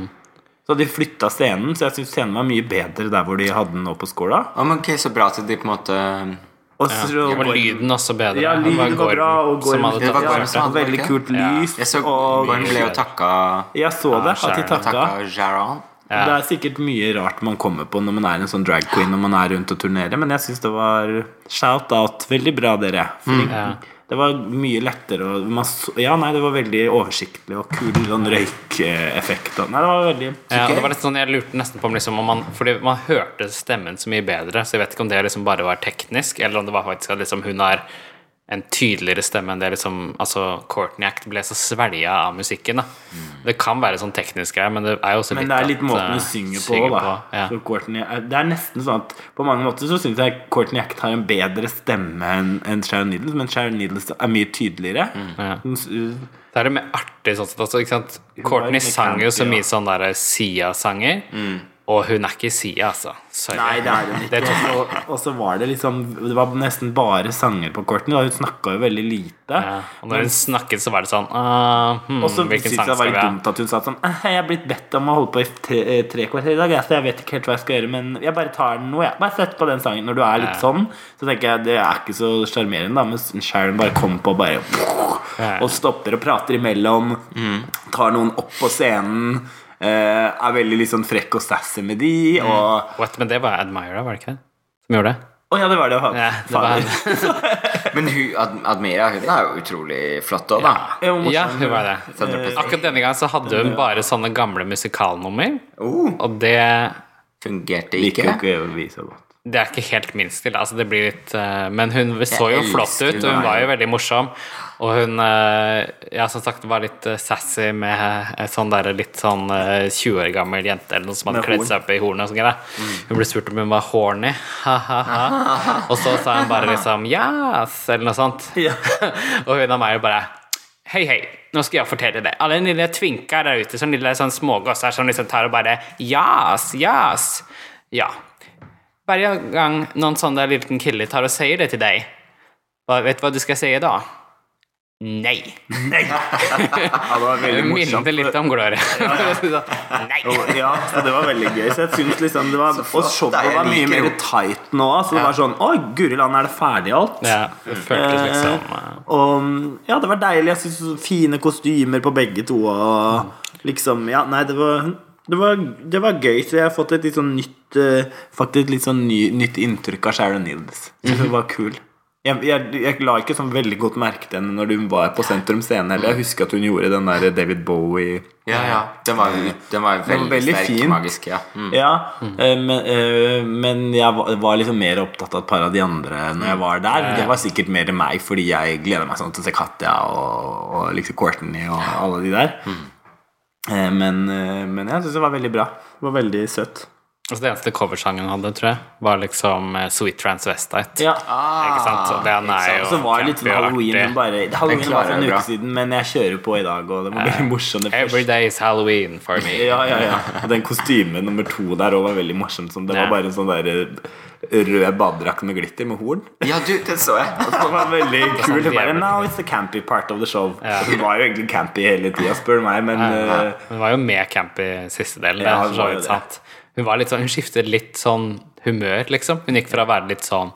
S2: Så de flytta scenen, så jeg syns scenen var mye bedre der hvor de hadde den nå på skåla.
S3: Ja, men ok, så bra at de på en måte
S2: Og så,
S1: Og lyden også bedre.
S2: Ja,
S1: Det
S2: lyden var
S1: Gorm
S2: bra, og
S1: som
S2: Gorm
S1: hadde
S3: Det
S1: tatt
S3: var
S1: det.
S3: Gorm som hadde
S2: Veldig
S3: det.
S2: kult
S1: Ja.
S2: lys.
S3: Jeg så
S2: og
S3: Gorm ble jo takka
S2: jeg så det, at de
S1: skjæren.
S2: takka.
S3: Takka Jaron.
S1: Ja.
S2: Det er sikkert mye rart man kommer på når man er en sånn drag queen Når man er rundt og turnerer, men jeg syns det var shout-out. Veldig bra, dere. Fordi
S1: Ja.
S2: Det var mye lettere og man så, Ja, nei, det var veldig oversiktlig og kul sånn røykeffekt og Nei, det var veldig
S1: Ja, og det var litt sånn, jeg lurte nesten på om, liksom, om man, fordi man hørte stemmen så mye bedre, så jeg vet ikke om det liksom bare var teknisk, eller om det var faktisk at liksom, hun har en tydeligere stemme enn det liksom, altså Courtney Act ble så svelget av musikken. Da. Det kan være sånn teknisk her, men det er jo også litt
S2: Mm. Men det er litt
S1: at,
S2: måten
S1: eh,
S2: du synger på, da.
S1: ja.
S2: Så Courtney, det er nesten sånn at på mange måter så syns jeg Courtney Act har en bedre stemme enn enn Sharon Needles, men Sharon Needles er mye tydeligere.
S1: Mm. ja.
S2: Hun s-
S1: Det er det mer artig sånn sett også, ikke sant?
S2: var
S1: Courtney
S2: litt
S1: sang jo så
S2: campy, ja. Mm.
S1: mye sånn der Sia-sanger, og hun er ikke Sia, altså. Sorry.
S2: Nei, det er hun ikke.
S1: Det tok noe
S2: Og så var det liksom Det var nesten bare sanger på Courtney. Da. Hun snakka jo veldig lite.
S1: ja. Og når hun snakket, så var det sånn ah, hmm,
S2: Og så syntes
S1: Hvilken
S2: jeg
S1: sang
S2: det var
S1: skal vi
S2: litt
S1: ha?
S2: dumt at hun sa sånn «Eh, Jeg er blitt bedt om å holde på i tre, eh, tre kvarter i dag, jeg, så jeg vet ikke helt hva jeg skal gjøre, men jeg bare tar den nå, jeg. Bare sett på den sangen. Når du er litt
S1: Ja.
S2: sånn, så tenker jeg det er ikke så sjarmerende, da, men Sharon bare kom på og bare
S1: Ja. Mm.
S2: Og stopper og prater imellom, tar noen opp på scenen, eh, er veldig litt sånn frekk og sassy med de,
S1: Mm.
S2: og
S1: What? Men det var Admira, var det ikke det? Som gjorde det?
S2: Å ja, det var det, faen.
S1: Ja, det var
S2: Faen.
S1: henne.
S3: Men hun, Ad Admira hun er jo utrolig flott òg, da.
S2: Det var morsomt.
S1: Ja, hun var det.
S3: 100%.
S1: Akkurat denne gangen så hadde hun bare sånne gamle musikalnummer,
S3: Oh,
S1: og det
S3: fungerte
S2: Liker
S3: ikke.
S2: jo ikke å bli så godt.
S1: Det er ikke helt min stil. Altså det blir litt, eh, men hun så jo
S3: elsker
S1: flott ut, og hun
S3: deg.
S1: var jo veldig morsom. Og hun eh, ja, som sagt, var litt eh, sassy med en sånn der, litt sånn eh, 20 år gammel jente eller noe som hadde
S2: Med
S1: kledd seg opp i hornet. og sånn greier. Hun ble spurt om hun var horny, ha-ha-ha. Og så sa hun bare liksom yes, eller noe sånt.
S2: Ja.
S1: og hun og meg bare Hei, hei, nå skal jeg fortelle deg. Alle den lille tvinka der ute, sånn lille sånn smågosser som liksom tar og bare Yes, yes. Ja. Hver gang noen sånn der liten kille tar og sier det til deg, hva, vet du hva du skal si da? Nei.
S2: Ja, det var
S1: Det
S2: veldig morsomt.
S1: minner litt om Gloria. sånn. Nei.
S2: Ja, så det var veldig gøy. Så jeg synes liksom det var, Og showet var mye mer tight nå. Så det var sånn Oi, guri land, er det ferdig alt?
S1: Ja, det føltes liksom eh,
S2: Og ja, det var deilig. Jeg synes sånn Fine kostymer på begge to. Og liksom Ja, nei, det var det var, det var gøy, så jeg har fått et litt sånn nytt eh, Faktisk litt sånn ny, nytt inntrykk av Sharon Needles. Så Hun var kul. Jeg, jeg, jeg la ikke sånn veldig godt merke til henne når hun var på Sentrum Scene. Eller jeg husker at hun gjorde den der David Bowie
S3: Ja, ja. Den var, jo- den var jo veldig,
S2: veldig
S3: sterk
S2: fin.
S3: magisk. Ja. Mm.
S2: Ja, eh, men, eh, men jeg var- var liksom mer opptatt av et par av de andre
S3: Mm.
S2: når jeg var der. Det var sikkert mer meg, fordi jeg gleder meg sånn til å se Katja og, og liksom Courtney og alle de der.
S3: Mm.
S2: Eh, Men, eh, men jeg syns det var veldig bra. Det var veldig søtt.
S1: altså Det eneste coversangen hun hadde, tror jeg, var liksom eh, Sweet Transvestite.
S2: Ja.
S1: Ikke sant?
S3: Ah.
S1: Så den er jo
S2: Og så var det litt sånn
S1: campy og
S2: halloween
S1: artig.
S2: men bare Halloween var for en
S3: klarer jeg
S2: uke
S3: bra.
S2: siden, men jeg kjører på i dag, og det var veldig morsomt. det første.
S1: Every day is Halloween for me.
S2: Ja, ja, ja. Og den kostyme nummer to der òg var veldig morsom. Som det
S1: Ja.
S2: var bare en sånn der eh, rød badedrakt med glitter med horn.
S3: Ja, du, den så jeg.
S2: Det var veldig kul. Hun bare
S1: jævlig.
S2: Now it's the campy part of the show.
S1: Ja.
S2: Hun var jo egentlig campy hele tida, spør du meg, men eh,
S1: Hun var jo med Camp i siste delen.
S2: Ja,
S1: der,
S2: hun
S1: for så
S2: var jo
S1: vidt,
S2: det.
S1: sant? Hun, var litt sånn, hun skiftet litt sånn humør, liksom. Hun gikk fra å være litt sånn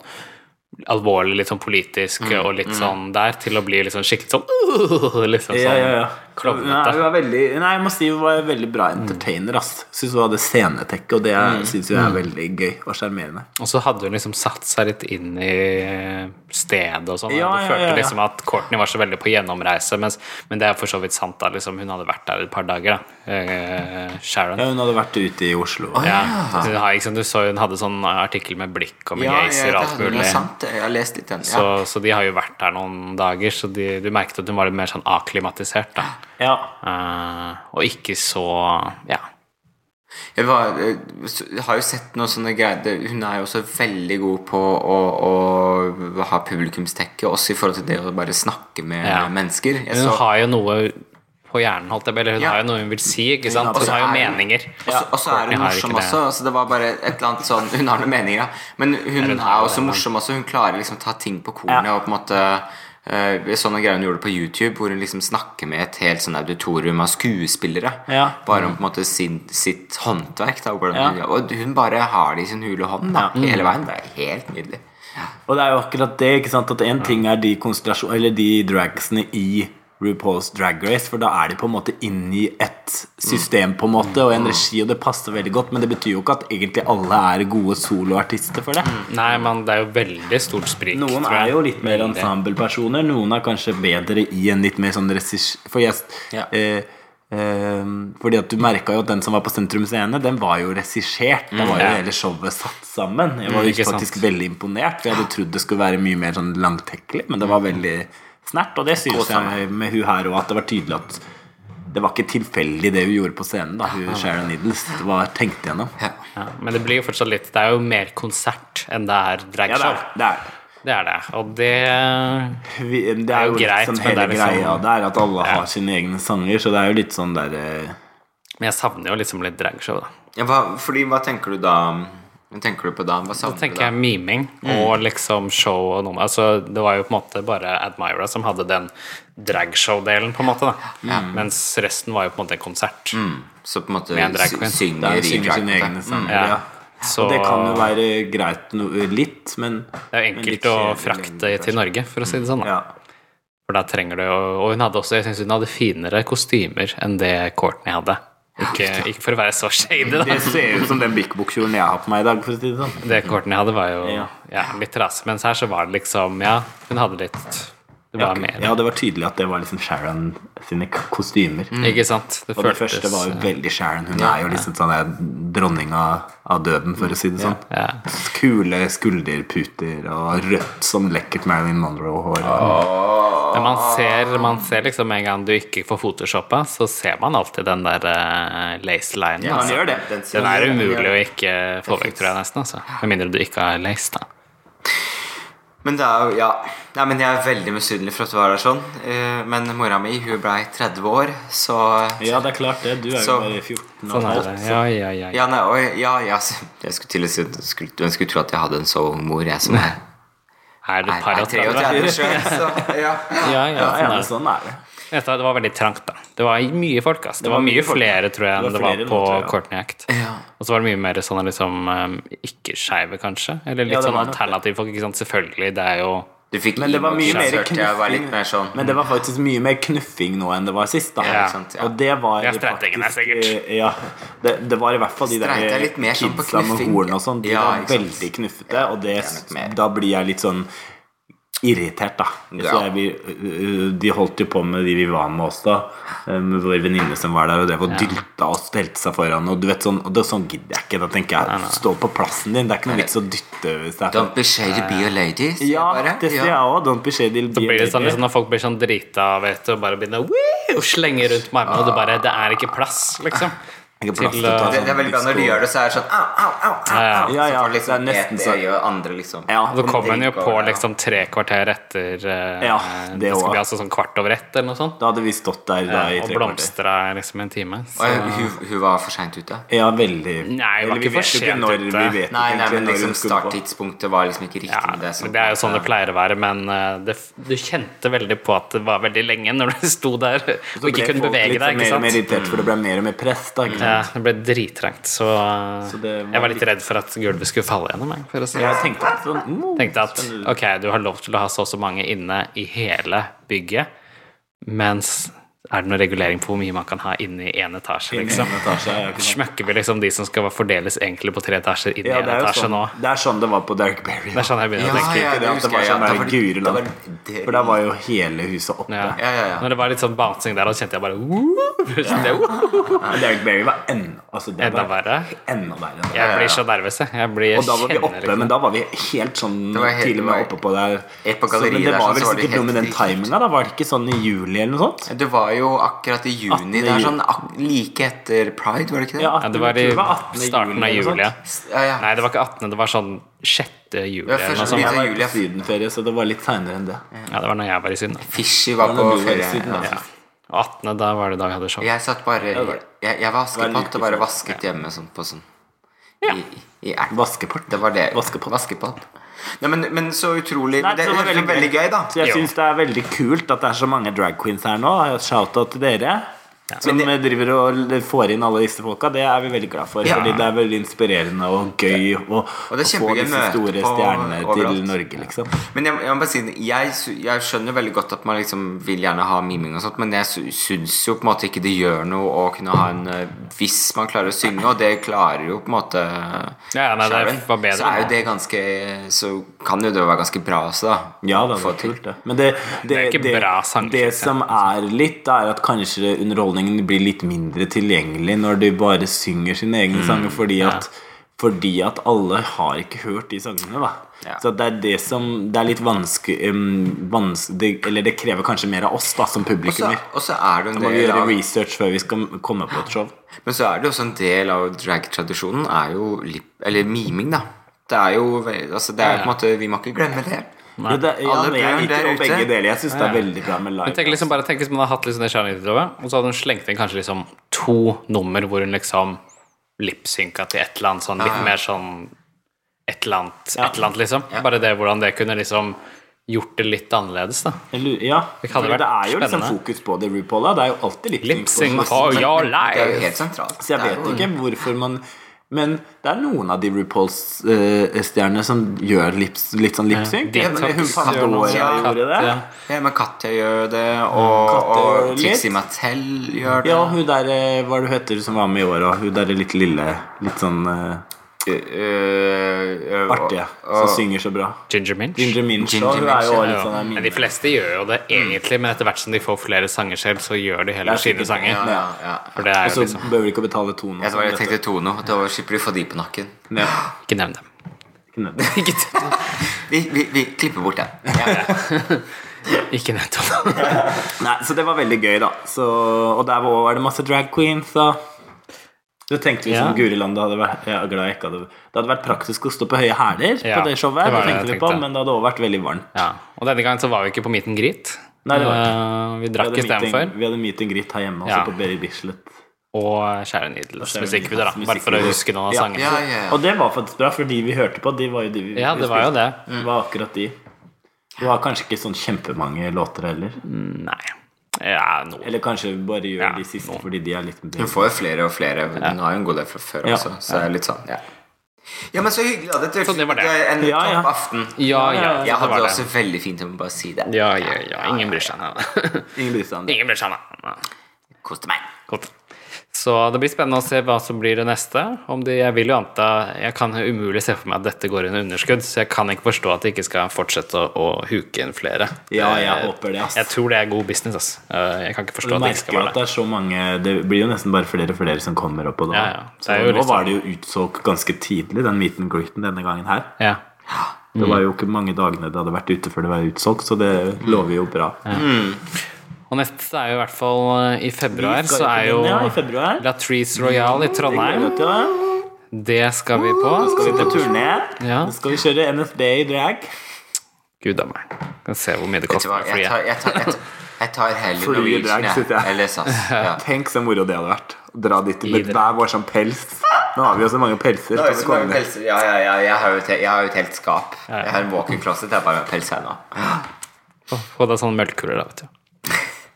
S2: Mm,
S1: alvorlig, litt sånn politisk og litt sånn der, til å bli litt sånn skikkelig sånn uh, liksom
S2: Ja,
S1: sånn
S2: ja, ja. Nei, hun
S1: Klovnete.
S2: er veldig, nei, jeg må si hun var en veldig bra entertainer. ass. Syns hun hadde scenetekke, og det er- synes jeg er veldig gøy og sjarmerende.
S1: Og så hadde hun liksom satt seg litt inn i eh, stedet og sånn.
S2: Ja,
S1: du
S2: ja,
S1: følte
S2: ja, ja.
S1: liksom at Courtney var så veldig på gjennomreise, mens, men det er for så vidt sant, da. Liksom, hun hadde vært der et par dager, da. Eh, Sharon.
S2: Ja, hun hadde vært ute i Oslo.
S1: Ja. Hun, har, ikke sant, du så hun hadde sånn artikkel med blikk og med
S3: Ja,
S1: geiser og alt
S3: det er
S1: mulig.
S3: sant. Jeg har lest litt den.
S1: Så,
S3: Ja.
S1: så de har jo vært der noen dager, så de, du merket at hun var litt mer sånn aklimatisert, da.
S2: Ja.
S1: Eh, og ikke så Ja.
S3: Jeg, var, jeg har jo sett noen sånne greier det- Hun er jo også veldig god på å, å ha publikumstekke, også i forhold til det å bare snakke med
S1: Ja.
S3: mennesker. Jeg
S1: Hun
S3: så,
S1: har jo noe på hjernen, holdt jeg på, eller hun
S3: Ja.
S1: har jo noe hun vil si, ikke sant?
S3: Og
S1: Hun
S3: så
S1: har jo
S3: er hun-
S1: meninger. Altså,
S3: Og så- og så er
S1: Courtney
S3: hun
S1: har
S3: morsom
S1: ikke det.
S3: også. Altså, det var bare et eller annet sånn Hun har noen meninger, ja. Men hun er
S1: har
S3: også
S1: det,
S3: morsom også. Hun klarer liksom å ta ting på kornet og på en måte eh, jeg så noen greier hun gjorde på YouTube, hvor hun liksom snakker med et helt sånn auditorium av skuespillere.
S2: Ja.
S3: Bare om på en måte sin, sitt håndverk. Da, og hvordan
S2: Ja.
S3: hun, gjør- og hun bare har det i sin hule hånd da,
S1: Mm.
S3: hele veien. Det er helt nydelig.
S2: Og det er jo akkurat det, ikke sant, at en ting er de konstellasjon- eller de dragsene i RuPaul's Drag Race, for da er de på en måte inni et system på en måte, og en regi, og det passer veldig godt, men det betyr jo ikke at egentlig alle er gode soloartister for det.
S1: Nei, men det er jo veldig stort sprik.
S2: Noen
S1: tror jeg.
S2: er jo litt mer
S1: Veldig.
S2: ensemblepersoner, noen er kanskje bedre i en litt mer sånn regissør... For jeg,
S3: Ja.
S2: eh, eh, fordi at du merka jo at den som var på Sentrum Scene, den var jo regissert. Da var jo
S1: Mm, ja.
S2: hele showet satt sammen. Jeg var
S1: Mm,
S2: jo
S1: ikke sant.
S2: faktisk veldig imponert, for jeg hadde trodd det skulle være mye mer sånn langtekkelig, men det var
S1: Mm.
S2: veldig snert. Og det synes jeg med hun her òg, at det var tydelig at det var ikke tilfeldig det hun gjorde på scenen. da, hun Sharon Needles. Det var tenkt igjennom.
S3: Ja.
S1: Ja, men det blir jo fortsatt litt Det er jo mer konsert enn det er
S2: Ja, det
S1: dragshow.
S2: er det. er det.
S1: det er det. Og det
S2: vi, det er jo
S1: greit,
S2: litt sånn
S1: men
S2: hele
S1: det er liksom-
S2: greia der at alle har sine egne sanger, så det er jo litt sånn der eh,
S1: Men jeg savner jo liksom litt dragshow, da.
S3: Ja, hva, fordi, hva tenker du da? Hva tenker du på da? Hva
S1: Da
S3: savner du
S1: tenker
S3: da?
S1: jeg miming
S2: Mm.
S1: og liksom show og noe Altså, det var jo på en måte bare Admira som hadde den dragshow-delen, på en måte, da. Mens resten var jo på en måte en konsert.
S2: Mm.
S3: Så på en måte
S1: Med en drag
S3: sy-
S1: queen.
S2: Det
S3: synger
S2: er
S3: i
S2: synger
S3: drag
S2: sine
S3: queen,
S2: egne
S3: da.
S2: sanger,
S1: Ja.
S2: ja. Mm.
S1: Så-
S2: Og det kan jo være greit no, litt, men
S1: Det er jo
S2: men
S1: enkelt
S2: litt
S1: å
S2: kjedelig
S1: frakte
S2: lengre,
S1: til Norge, for å si det sånn. da.
S2: Ja.
S1: For da trenger du jo Og hun hadde også, jeg syns hun hadde finere kostymer enn det Courtney hadde. Ikke, ikke for å være så shady, da.
S2: Det ser ut som den Bik Bok-kjolen jeg har på meg i dag, for å si det sånn.
S1: Det Courtney hadde, var jo
S2: Ja.
S1: ja, litt trasig, mens her så var det liksom Ja, hun hadde litt Det var mer.
S2: Ja, det var tydelig at det var liksom Sharon sine k- kostymer.
S1: Ikke sant? Det
S2: Og det
S1: føltes
S2: første var jo veldig Sharon. Hun er jo liksom sånn der dronninga av døden, for å si det sånn.
S1: ja.
S2: Kule skulderputer og rødt som lekkert Marilyn Monroe-hår.
S1: Men man ser, man ser liksom med en gang du ikke får photoshoppa, så ser man alltid den der uh, lace linen.
S3: Ja,
S1: altså.
S2: gjør det.
S3: Den,
S1: Den er
S3: den gjør
S1: umulig å
S3: det.
S1: ikke få vekk, tror jeg nesten. Altså. Med mindre du ikke har lace, da.
S3: Men det er jo, ja Nei, men jeg er veldig misunnelig for at du var der sånn. Eh, Men mora mi hun blei 30 år, så
S2: Ja, det er klart det. Du er jo
S3: Så-
S2: bare 14 og
S1: Sånn er
S2: halvt.
S1: det. Ja, ja, ja. ja.
S3: Ja, nei, oi, ja, ja så- Jeg skulle til å si jeg skulle, jeg skulle tro at jeg hadde en så ung mor, jeg som er,
S1: Er det
S3: er,
S1: par
S3: er
S1: og tredve?
S3: 33 sjøl, så ja.
S1: Ja, ja,
S2: Ja,
S1: sånn
S2: ja, men
S1: er det.
S2: sånn er det.
S1: Vet du hva, Det var veldig trangt, da. Det var mye folk, ass. Det
S2: var
S1: var
S2: mye
S1: mye
S2: folk.
S1: flere, tror jeg, enn
S2: Det var
S1: det var
S2: flere
S1: på
S2: nå, tror jeg.
S1: Courtney Act.
S3: Ja.
S1: Og så var det mye mer sånn liksom eh, ikke-skeive, kanskje. Eller litt
S2: Ja, det
S1: sånn
S2: var nok det.
S1: alternativ folk, ikke sant. Selvfølgelig, det er jo
S3: Du fikk
S2: Men det var mye mer
S3: emotions, hørte jeg, var
S2: knuffing.
S3: litt mer sånn
S2: Men det var faktisk mye mer knuffing nå enn det var sist. da
S1: Ja,
S3: ikke sant, ja.
S2: Og det var
S1: Ja,
S2: jo
S1: streitingen er sikkert.
S2: eh, Ja, det, det var i hvert fall de
S3: Streit er
S2: der
S3: litt mer sånn på
S2: kidsa med
S3: knuffing.
S2: horn og sånn. De
S3: Ja,
S2: var
S3: ikke sant.
S2: veldig knuffete, og det,
S3: nok mer.
S2: da blir jeg litt sånn irritert, da. Så
S3: Ja.
S2: jeg, blir- de holdt jo på med de vi var med oss, da. eh, Med vår venninne som var der, og drev og dylta og stelte seg foran. Og du vet sånn, og det, sånn gidder jeg ikke. Da tenker jeg stå på plassen din. Det er ikke noe vits å dytte hvis det er
S3: Don't be shady, be a lady. sier jeg
S2: ja,
S3: bare.
S2: det sier jeg
S3: Ja.
S2: òg. Don't be shady.
S1: Så
S2: be
S1: blir det
S2: lady.
S1: sånn liksom, når folk blir sånn drita vet du, og bare begynner å «Wee!» og slenge rundt med armene, og det bare Det er ikke plass, liksom.
S2: Ikke plass
S1: Til,
S2: til å ta
S1: uh,
S3: Det, det er veldig bra når de gjør det, så er det sånn au, au, au. au,
S1: ja.
S3: au.
S2: Ja, ja,
S3: Så får liksom,
S2: det er nesten
S3: det,
S2: sånn.
S3: gjør andre, liksom.
S2: Ja,
S1: Og så kommer hun jo
S3: drikker,
S1: på
S3: ja.
S1: liksom tre kvarter etter eh,
S2: Ja, det
S1: Det skal
S2: også.
S1: bli altså sånn kvart over ett eller noe sånt.
S2: Da hadde vi stått der da, i
S1: Og
S2: tre kvarter.
S1: blomstra liksom en time.
S3: Og
S1: Så.
S3: jeg- hun, hun var for seint ute.
S2: Ja,
S1: Nei, det
S2: veldig
S1: var
S2: Eller vi
S1: ikke for
S2: vet jo ikke
S1: sent
S2: når
S1: ute.
S2: vi vet
S3: Nei,
S2: ikke
S3: nei,
S2: egentlig
S3: men
S2: når hun
S3: liksom
S2: skulle på.
S3: starttidspunktet var liksom ikke riktig.
S1: Ja,
S3: med det, som-
S1: men det er jo sånn det pleier å være, men eh, det, du kjente veldig på at det var veldig lenge når du sto der og
S2: Så ble
S1: ikke kunne
S2: folk
S1: bevege
S2: litt sånn
S1: deg. ikke
S2: mer og mer
S1: sant?
S2: irritert, for det ble mer og mer press. Da, ikke sant?
S1: Ja, det ble drittrengt, så, eh,
S2: Så det var
S1: jeg var litt redd for at gulvet skulle falle gjennom. jeg, For å si. det
S2: Jeg tenkte at sånn mm,
S1: tenkte at ok, du har lov til å ha så og så mange inne i hele bygget, mens er det noen regulering på hvor mye man kan ha inni én etasje?
S2: Inni
S1: liksom?
S2: en etasje, ja, ikke sant.
S1: Smøkker vi liksom de som skal fordeles egentlig på tre etasjer, inn i
S2: Ja,
S1: en
S2: det er jo
S1: etasje
S2: sånn
S1: nå?
S2: det er sånn det var på Derek Berry.
S1: Det er sånn jeg begynner å tenke.
S2: ja, det husker jeg, ja. Da var det- da var
S3: det-
S2: For da var jo hele huset oppe.
S1: Ja.
S3: Ja, ja, ja.
S1: Når det var litt sånn bouncing der, da kjente jeg bare uh,
S2: Men Derek Berry var enda altså, det
S1: Enda
S2: var
S1: verre.
S2: Enda verre. enn det.
S1: Jeg blir så nervøs, jeg. jeg blir, jeg
S2: Og da var
S1: kjenner
S2: vi oppe,
S1: liksom-
S2: men da var vi helt sånn
S3: Det var helt-
S2: Til og med oppe på der.
S3: Helt på
S2: Så- men
S3: galleriet
S2: det
S3: der,
S2: var
S3: sånn,
S2: vel
S3: så var det
S2: sikkert
S3: helt
S2: noe med den
S3: dritkult.
S2: timinga, da? Var det ikke sånn i juli eller noe sånt?
S3: Det var jo akkurat i juni.
S2: 18.
S3: Det er
S2: juli.
S3: sånn ak like etter pride, var det ikke det?
S2: Ja,
S1: ja, det var i
S2: jeg tror det var 18.
S1: starten av
S2: eller noe
S1: juli. ja.
S2: sånt.
S3: ja, ja.
S1: Nei, det var ikke 18., det var sånn 6. juli.
S3: Ja,
S1: Eller noe
S3: første
S1: sånt.
S2: Jeg var
S3: juli,
S2: på
S3: ja.
S2: sydenferie, så det var litt seinere enn det.
S1: Ja, det var når jeg var i Syden. da.
S3: Fishy var
S2: Men
S3: på
S2: når du var i
S3: ferie.
S2: Syden, da.
S3: Ja.
S1: 18., da var det da jeg hadde show.
S3: Jeg satt bare
S2: var
S3: Jeg,
S2: det.
S3: jeg var
S2: Det var en uke
S3: askepott og bare
S2: før.
S3: vasket hjemme sånn på sånn I, i elv.
S2: Vaskeport.
S3: Det var det.
S2: Vaskepott.
S3: Vaskepott. Nei, men, men så utrolig
S2: Nei,
S3: Det,
S2: så
S3: det,
S2: det var
S3: var
S2: veldig
S3: veldig
S2: gøy.
S3: gøy, da.
S2: Så jeg
S1: Jo.
S2: syns det er veldig kult at det er så mange drag queens her nå. Shout-out til dere. Som
S3: Men
S2: driver og får inn alle disse folka. Det er vi veldig glad for.
S3: Ja.
S2: Fordi det er veldig inspirerende og gøy å-
S3: Og det er
S2: å få
S3: kjempegøy
S2: disse
S3: møte
S2: store
S3: på-
S2: stjernene til
S3: overalt.
S2: Norge, liksom.
S3: Men jeg, jeg må bare si det, jeg, sy- jeg skjønner veldig godt at man liksom vil gjerne ha miming og sånt, men jeg sy- syns jo på en måte ikke det gjør noe å kunne ha en eh, Hvis man klarer å synge, og det klarer jo på en måte
S1: Ja, ja, nei, det
S3: Sharon,
S1: var bedre.
S3: så er jo det ganske Så kan jo det være ganske bra også, da.
S2: Ja da, det
S3: Få
S2: er
S3: til.
S2: kult, det. Men det, det,
S1: er ikke
S2: det,
S1: bra sanger,
S2: det
S1: synes jeg.
S2: som er litt, da, er at kanskje underholdningen blir litt mindre tilgjengelig når de bare synger sine
S1: Mm.
S2: egne sanger, fordi at, fordi at alle har ikke hørt de sangene, da.
S3: Ja.
S2: Så det er det som Det er litt vanskelig det, Eller det krever kanskje mer av oss, da, som
S3: Og så-
S2: publikummer.
S3: Og så er det
S2: Så
S3: en
S2: må vi
S3: del
S2: gjøre
S3: av
S2: research før vi skal komme på et show.
S3: Men så er det jo også en del av drag-tradisjonen er jo lip, eller miming, da. Det er jo ve- altså det er jo på en måte, Vi må ikke glemme det.
S2: Ja, det, ja,
S3: Alle
S2: men jeg
S3: barn
S2: liker
S3: der
S2: jo
S3: ute.
S2: begge deler. Jeg syns det er veldig bra med
S1: Men
S2: live.
S1: tenk liksom bare tenk hvis man hadde hatt liksom det Shania-utøvet, og så hadde hun slengt inn kanskje liksom to nummer hvor hun liksom lipsynka til et eller annet sånn litt mer sånn et eller annet, et eller annet liksom. Bare det hvordan det kunne liksom gjort det litt annerledes, da.
S2: Jeg lurer- Ja,
S1: Det kan jo
S2: fordi det
S1: være
S2: er jo liksom
S1: spennende.
S2: fokus på det, RuPaul. Da. Det er jo alltid litt
S1: Lipsync for your
S3: Det er jo
S1: life!
S3: helt sentralt.
S2: Så jeg
S3: Det er
S2: vet
S3: jo-
S2: ikke hvorfor man Men det er noen av de RuPauls-stjernene som gjør lips, litt sånn lipsync.
S1: De
S3: Ja, men hun
S1: tok-
S3: faen,
S1: gjør noe
S2: Dora
S1: sånn
S2: gjorde det.
S1: katte-
S3: Ja, men Katja gjør det, og,
S2: Katja Mm, gjør
S3: og
S2: litt.
S3: Trixie Mattel gjør det.
S2: Ja, hun der eh, Hva er det hun heter som var med i år, og hun derre litt lille Litt sånn eh,
S3: Ø- ø- ø-
S2: artige,
S3: Øh, og-
S2: som synger så bra.
S1: Ginger Minch.
S2: Ginger Minch
S3: Ginger
S2: og hun er Mm. jo
S3: Minch,
S2: også litt
S1: Ja,
S2: sånn der
S1: men
S2: mime.
S1: de fleste gjør jo det egentlig, men etter hvert som de får flere sanger selv, så gjør de heller
S2: Det er
S1: sine
S2: sikkert- Altså-
S1: sanger.
S3: Ja, ja, ja.
S1: For det er
S2: Og så
S1: jo liksom
S2: behøver de ikke å betale tonen.
S3: Jeg, tror jeg tenkte Tono. Da slipper de å få de på nakken.
S1: Ikke nevn dem.
S3: Ikke sant? vi, vi, vi klipper bort den. Ja.
S1: Ikke nevn dem.
S2: Nei, så det var veldig gøy, da. Så, og der var var det masse drag queens, da. Så tenkte vi
S1: Ja.
S2: som Guri Land det hadde vært, jeg er glad jeg ikke hadde Det hadde vært praktisk å stå på høye hæler
S1: Ja,
S2: på det showet,
S1: det var det
S2: det
S1: jeg
S2: tenkte vi på,
S1: tenkte.
S2: men det hadde også vært veldig varmt.
S1: Ja, og denne gangen så var vi ikke på Meet and Greet.
S2: Nei, det var
S1: Eh,
S2: vi
S1: vi
S2: Vi
S1: drakk
S2: hadde meeting-
S1: istedenfor.
S2: vi hadde meet and greet her hjemme, også
S1: Ja.
S2: på Berit Bislett.
S1: Og Kjære Nidels
S2: Kjære
S1: musikkvideo, da.
S2: Nidels
S1: Bare for å
S2: musikkvideo.
S1: huske noen av
S2: Ja.
S1: sangene.
S3: Ja, ja, ja.
S2: Og det var faktisk bra, for de vi hørte på, de var jo de vi
S1: Ja,
S2: vi
S1: det var jo
S2: spilte.
S1: det.
S2: Det var akkurat de. Det var kanskje ikke sånn kjempemange låter heller.
S1: Nei Ja, noe.
S2: Eller kanskje vi bare gjør
S1: Ja,
S2: de siste fordi de er litt
S3: Hun får jo flere og flere. Hun har jo en god del fra før
S2: Ja.
S3: også. Så det er litt sånn, ja. ja, men så hyggelig. Da. Dette
S1: Så det var det.
S3: er en
S2: Ja, ja.
S3: topp aften.
S1: Ja, ja.
S3: Jeg
S1: det
S3: hadde
S1: var
S3: det
S1: det.
S3: også veldig fint. Jeg må bare si det.
S1: Ja, ja, ja. Ingen bryr seg. Nei.
S2: Ingen bryr seg om det.
S1: Ingen bryr seg, nei.
S3: Koste meg.
S1: Godt. Så det blir spennende å se hva som blir det neste. Om de, jeg vil jo anta Jeg kan umulig se for meg at dette går under underskudd, så jeg kan ikke forstå at de ikke skal fortsette å, å huke inn flere.
S2: Ja, jeg
S1: Eh,
S2: håper det, ass.
S1: Jeg tror det er god business, ass. Eh, Jeg kan ikke
S2: Du
S1: forstå at det ikke
S2: merker
S1: skal
S2: jo
S1: være
S2: at
S1: det.
S2: det er så mange Det blir jo nesten bare flere og flere som kommer opp. Og da.
S1: Ja, ja. Det
S2: Så
S1: er
S2: nå
S1: jo liksom-
S2: var det jo utsolgt ganske tidlig, den meet and greeten denne gangen her.
S1: Ja.
S2: Det var jo ikke mange dagene det hadde vært ute før det var utsolgt, så det
S1: Mm.
S2: lover jo bra.
S1: Og neste er jo i hvert fall eh, i februar,
S2: Vi skal
S1: så
S2: jo på
S1: er jo
S2: den, ja, i februar.
S1: Latrice Royale i
S2: Det gleder
S1: Trondheim.
S2: jeg meg til.
S1: Det skal vi på.
S2: Nå Mm. skal vi på turné.
S1: Ja.
S2: Nå skal vi kjøre NFB i drag.
S1: Gud a meg. Kan se hvor mye det
S3: Vet du
S1: koster
S3: hva,
S1: med
S3: jeg tar,
S1: flyet.
S3: jeg tar, jeg tar, jeg tar heller
S2: Flyet drag,
S3: Norwegian,
S2: sitter jeg.
S3: jeg. Eller SAS. Ja.
S2: Tenk så moro det hadde vært. Å dra dit
S1: I
S2: med
S1: drag.
S2: hver vår sånn pels. Nå har vi jo så mange pelser.
S3: Det er jo
S2: Kan vi
S3: så mange
S2: komme ned?
S3: pelser. Ja, ja, ja, jeg har jo et, jeg har jo et helt skap. Jeg har en walk-in closet. Det er bare pels her nå.
S1: Få- Få deg sånne melkekuler, da, vet du.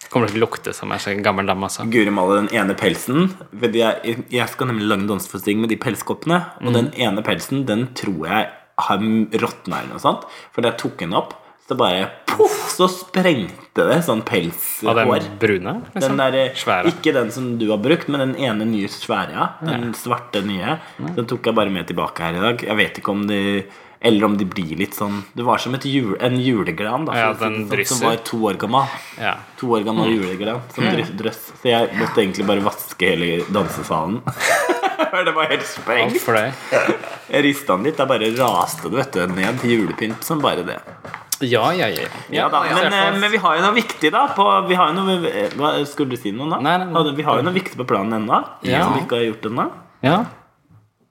S1: Kommer til å lukte som en sånn gammel dame, altså.
S2: Guri Malle den ene pelsen fordi jeg, jeg skal nemlig lage danseforestilling med de pelskoppene.
S1: Mm.
S2: Og den ene pelsen den tror jeg har råtna eller noe sånt. For da jeg tok den opp, Så bare poff, så sprengte det sånn
S1: Av
S2: pelshår.
S1: den brune?
S2: Den
S1: Liksom.
S2: der, eh,
S1: Svære.
S2: Ikke den som du har brukt, men den ene nye svære. ja. Den svarte nye. Den tok jeg bare med tilbake her i dag. Jeg vet ikke om de Eller om de blir litt sånn Det var som et jul, en julegran da,
S1: Ja,
S2: for å si
S1: den
S2: det sånn,
S1: drysser.
S2: som var to år gammel.
S1: Ja.
S2: To år gammel julegran som dryss- drøss. Så jeg måtte egentlig bare vaske hele dansesalen. For det var helt
S1: Alt
S2: sprengt.
S1: for det.
S2: Jeg rista den litt. Da bare raste det vet du, ned til julepynt som bare det.
S1: Ja, ja, ja.
S2: Ja, da.
S1: i hvert
S2: Men,
S1: fall.
S2: eh, men vi har jo noe viktig, da. På, vi har jo noe, eh, hva, skulle du si noe nå?
S1: Nei, nei, nei.
S2: Hadde- Vi har jo noe viktig på planen ennå.
S1: Ja.
S2: Som vi ikke har gjort ennå.
S1: ja.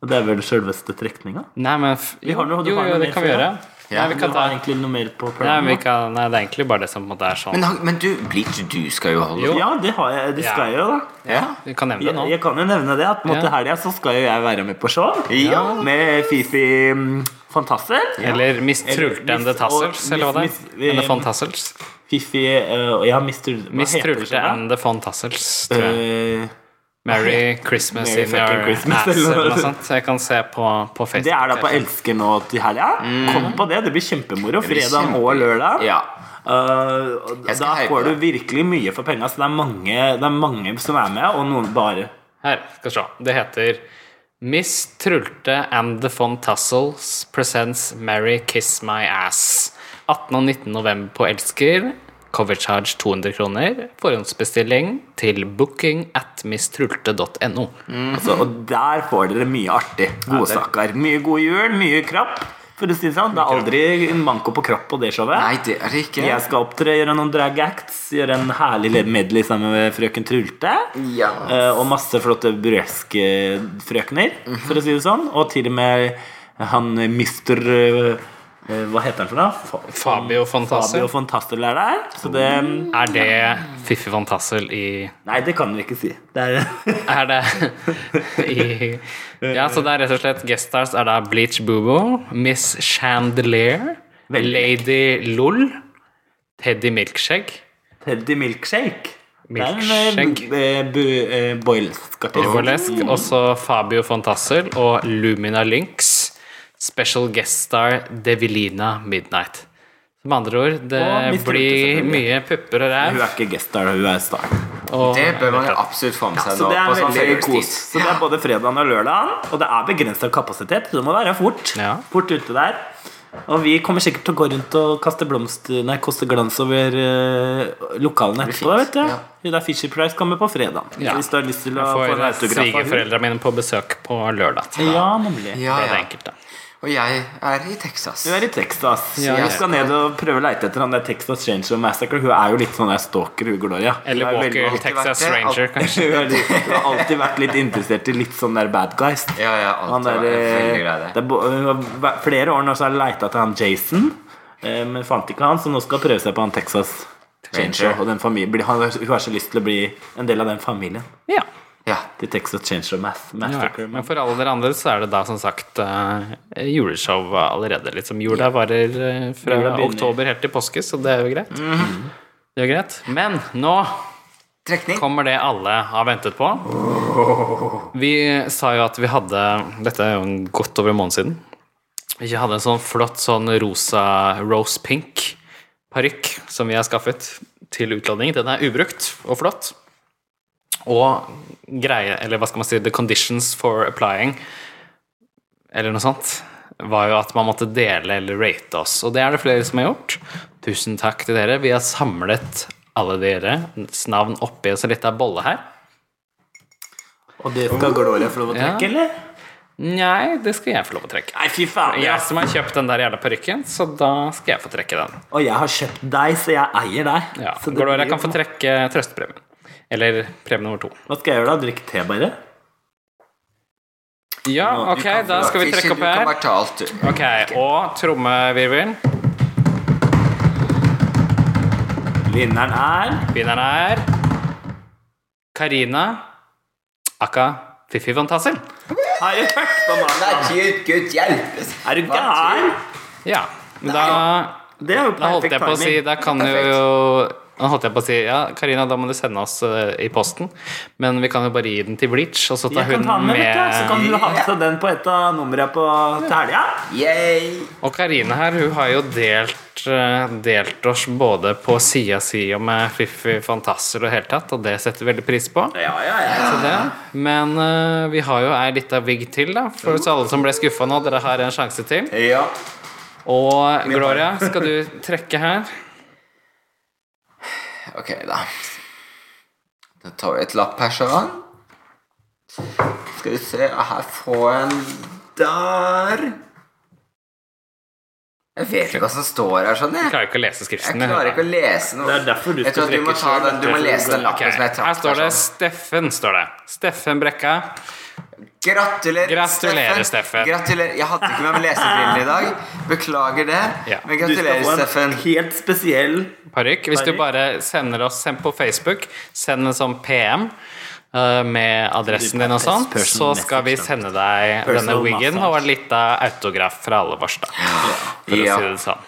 S2: Og det er vel selveste trekninga.
S1: Nei, men f
S2: Vi har noe- du
S1: jo,
S2: har
S1: jo,
S2: noe
S1: det
S2: mer
S1: kan vi
S2: for
S1: gjøre.
S3: Ja,
S1: Nei, vi
S2: Du
S1: kan ta
S2: har egentlig noe mer på
S1: Nei,
S2: planen?
S1: vi
S2: nå?
S1: kan, nei, det er egentlig bare det som på en måte er sånn
S3: Men, han- men du, Bleach, du skal jo holde
S2: Ja, det, har jeg, det skal jeg jo, da.
S3: Ja.
S1: Vi kan nevne det
S2: Jeg,
S1: nå.
S2: jeg kan jo nevne det at på en måte
S1: Ja.
S2: helga så skal jo jeg være med på show.
S3: Ja.
S2: Med Fifi mm, Fantassel.
S1: Eller Miss
S2: Eller
S1: Trultende
S2: Miss-
S1: Tassels,
S2: og
S1: eller hva det
S2: Miss-
S1: er.
S2: Miss-
S1: Eller Von Tassels.
S2: Fifi eh, og ja, Miss Trulte. hva
S1: Miss
S2: heter det
S1: Trulte
S2: sånn, da?
S1: and the Von Tassels, tror jeg.
S2: Eh,
S1: Merry Christmas
S2: Merry
S1: in
S2: fucking
S1: your
S2: Christmas,
S1: ass, eller
S2: eller
S1: noe
S2: noe
S1: sånt. Jeg kan se på, på Facebook.
S2: Det er da på Elsker nå til helga.
S1: Mm.
S2: Kom på det. Det blir kjempemoro.
S3: blir
S2: Fredag
S3: kjempe-
S2: og lørdag.
S3: Ja.
S2: Eh, og
S3: Jeg skal
S2: da
S3: hype
S2: får du
S3: det.
S2: virkelig mye for penga. Så det er, mange, det er mange som er med, og noen bare.
S1: Her, skal vi se. Det heter Miss Trulte and the Von Tassels presents Merry Kiss My Ass. 18. og 19. november på Elsker. Cover charge 200 kroner. Forhåndsbestilling til booking at misstrulte.no.
S2: Altså, og der får dere mye artig. Godsaker. Mye god jul, mye krapp. For å si det sånn. Det er aldri en manko på kropp på det showet.
S3: Nei, det er det ikke.
S2: Jeg skal opptre, gjøre noen drag acts, gjøre en herlig medley sammen med frøken Trulte.
S3: Ja.
S2: Eh, og masse flotte burleskefrøkner,
S3: Mhm.
S2: for å si det sånn. Og til og med han eh, mister eh, eh, Hva heter han for noe? Fa-
S1: Fabio Von Tassel.
S2: Fabio Fantastel er der. Så det
S3: Mm.
S1: Er det Fiffi Von Tassel i
S2: Nei, det kan vi ikke si. Det er,
S1: Er det i Ja, så det er rett og slett guest stars er da Bleach Boobo, Miss Chandelier,
S2: Veldig.
S1: Lady LOL, Teddy Milkshake.
S2: Teddy Milkshake.
S1: Milkshake.
S2: Det er en uh, boilskartell.
S1: Burlesk. Også Fabio von Tassel og Lumina Lynx. Special guest star Devilina Midnight. Med andre ord,
S2: Og
S1: det
S2: Miss Trulte,
S1: blir
S2: selvfølgelig.
S1: mye pupper og
S2: Hun
S1: ræv.
S2: er ikke guest star, hun er star.
S1: og-
S3: Det bør man jo absolutt få med seg
S2: Så
S3: nå.
S2: det er
S3: på sånn
S2: veldig kos.
S3: ferietid.
S2: Så det er både fredagen og lørdagen, og det er begrensa kapasitet. så Det må være fort.
S1: Ja.
S2: Fort ute der. Og vi kommer sikkert til å gå rundt og kaste blomster Nei, kaste glans over eh, lokalene
S3: Det
S2: etterpå.
S3: blir fint,
S2: vet du
S3: ja.
S2: Hun der Fisher Price kommer på fredag.
S1: Ja.
S2: Hvis du har lyst til å
S1: Jeg
S2: få en
S1: får eh,
S2: autograf av henne.
S1: svigerforeldrene mine på besøk på lørdag. så Da
S2: Ja, nemlig.
S3: Ja,
S1: ble det
S3: ja.
S1: enkelt, da.
S3: Og jeg er i Texas.
S2: Du er i Texas.
S1: Ja, ja.
S2: jeg skal ned og prøve å leite etter han der Texas Chainsaw Massacre. Hun er jo litt sånn der stalker, hun Gloria. Hun
S1: Eller
S2: er veldig-
S1: Walker
S3: alltid
S1: Texas
S3: vært det.
S1: Ranger, kanskje.
S2: Hun har litt- hun har alltid vært litt interessert i litt sånn der bad guys.
S3: Ja, ja, alltid
S2: Han der,
S3: vært veldig
S2: eh,
S3: glad i det.
S2: det er bo- hun har vært- flere år nå så har hun leita etter han Jason, eh, men fant ikke han, så nå skal hun prøve seg på han Texas Chainsaw.
S3: Ranger.
S2: Og den familien, blir- han, hun har så lyst til å bli en del av den familien
S1: Ja.
S3: Ja.
S2: til Texas Chainsaw Mass Massacre.
S1: Men for alle dere andre så er det da som sagt eh, juleshow allerede. Liksom jula varer eh, fra
S2: Jula begynner. Mhm.
S1: oktober helt til påske, så det er jo greit. Det er jo greit. Men nå
S3: Trekning.
S1: kommer det alle har ventet på. Vi sa jo at vi hadde Dette er jo en godt over en måned siden. Vi hadde en sånn flott sånn rosa rose pink parykk som vi har skaffet til utladning. Den er ubrukt og flott. Og greie, eller hva skal man si, the conditions for applying, eller noe sånt, var jo at man måtte dele eller rate oss. Og det er det flere som har gjort. Tusen takk til dere. Vi har samlet alle deres navn oppi en lita bolle her.
S2: Og det skal Gloria få lov å
S1: Oh. Ja.
S2: trekke, eller?
S1: Nei, det skal jeg få lov å trekke.
S2: Nei, fy faen.
S1: Jeg som har kjøpt den der jævla parykken, så da skal jeg få trekke den.
S2: Og jeg har kjøpt deg, så jeg eier deg.
S1: Ja,
S2: Så det
S1: Gloria
S2: blir-
S1: kan få trekke trøstepremien. Eller premie nummer to.
S2: Hva skal jeg gjøre da? Drikke te, bare?
S1: Ja, ok, da skal vi trekke opp
S3: Du kan
S1: her.
S3: bare ta alt, du.
S1: Ok, Og trommevirvel.
S2: Vinneren er
S1: Vinneren er Karina Akka Fifi von Tassel.
S2: Har du hørt på meg?
S3: Nei, Gud, Gud hjelpes.
S2: Er du gæren?
S1: Ja, da,
S2: Det er jo
S1: da holdt
S2: perfekt
S1: jeg på å si
S2: timing.
S1: Da kan du
S3: Perfekt.
S1: jo da holdt jeg på å si Ja, Karina, da må du sende oss eh, i posten. Men vi kan jo bare gi den til Bleach, og så tar
S2: Jeg
S1: hun
S2: kan ta den med, vet du. Så
S1: med
S2: kan du ha med deg den på et av numrene på til helga.
S3: Yay.
S1: Og Karine her, hun har jo delt vært eh, delt oss både på sida si og med eh, Fiffi Fantasser og hele tatt, og det setter vi veldig pris på.
S2: Ja, ja, ja.
S1: Så det. Men eh, vi har jo ei lita vigg til, da. For så alle som ble skuffa nå, dere har en sjanse til.
S3: Ja.
S1: Og Gloria, skal du trekke her?
S3: Ok, da. Da tar vi et lapp her sånn. Skal vi se Her får jeg en der. Jeg vet ikke hva som står her sånn,
S1: Jeg
S3: jeg.
S1: klarer ikke å lese
S3: Jeg
S1: skriften.
S3: klarer ikke å lese noe.
S2: Det er derfor du
S3: jeg tror
S2: skal
S3: at du må,
S2: trekke
S3: ta
S2: selv,
S3: den, du må
S2: derfor du
S3: lese den
S2: går-
S1: Ok,
S3: lappen som jeg
S1: Her
S3: trakk.
S1: står det
S3: der sånn.
S1: Steffen. står det Steffen Brekka.
S3: Gratulerer,
S1: Gratulerer, Steffen.
S3: Gratulerer. Jeg hadde ikke med meg lesebrillene i dag. Beklager det.
S1: Ja.
S3: Men
S2: Du
S3: gratulerer,
S2: skal få en
S3: Steffen.
S2: helt spesiell
S1: Parykk. Hvis du
S2: Parykk.
S1: bare sender oss send på Facebook, send en sånn PM eh, med adressen din og sånn, så
S2: Personal
S1: skal vi
S2: message,
S1: sende deg denne
S2: Personal
S1: wiggen
S2: massage.
S1: og en lita autograf fra alle vårs, da. For
S3: Ja.
S1: å si det sånn.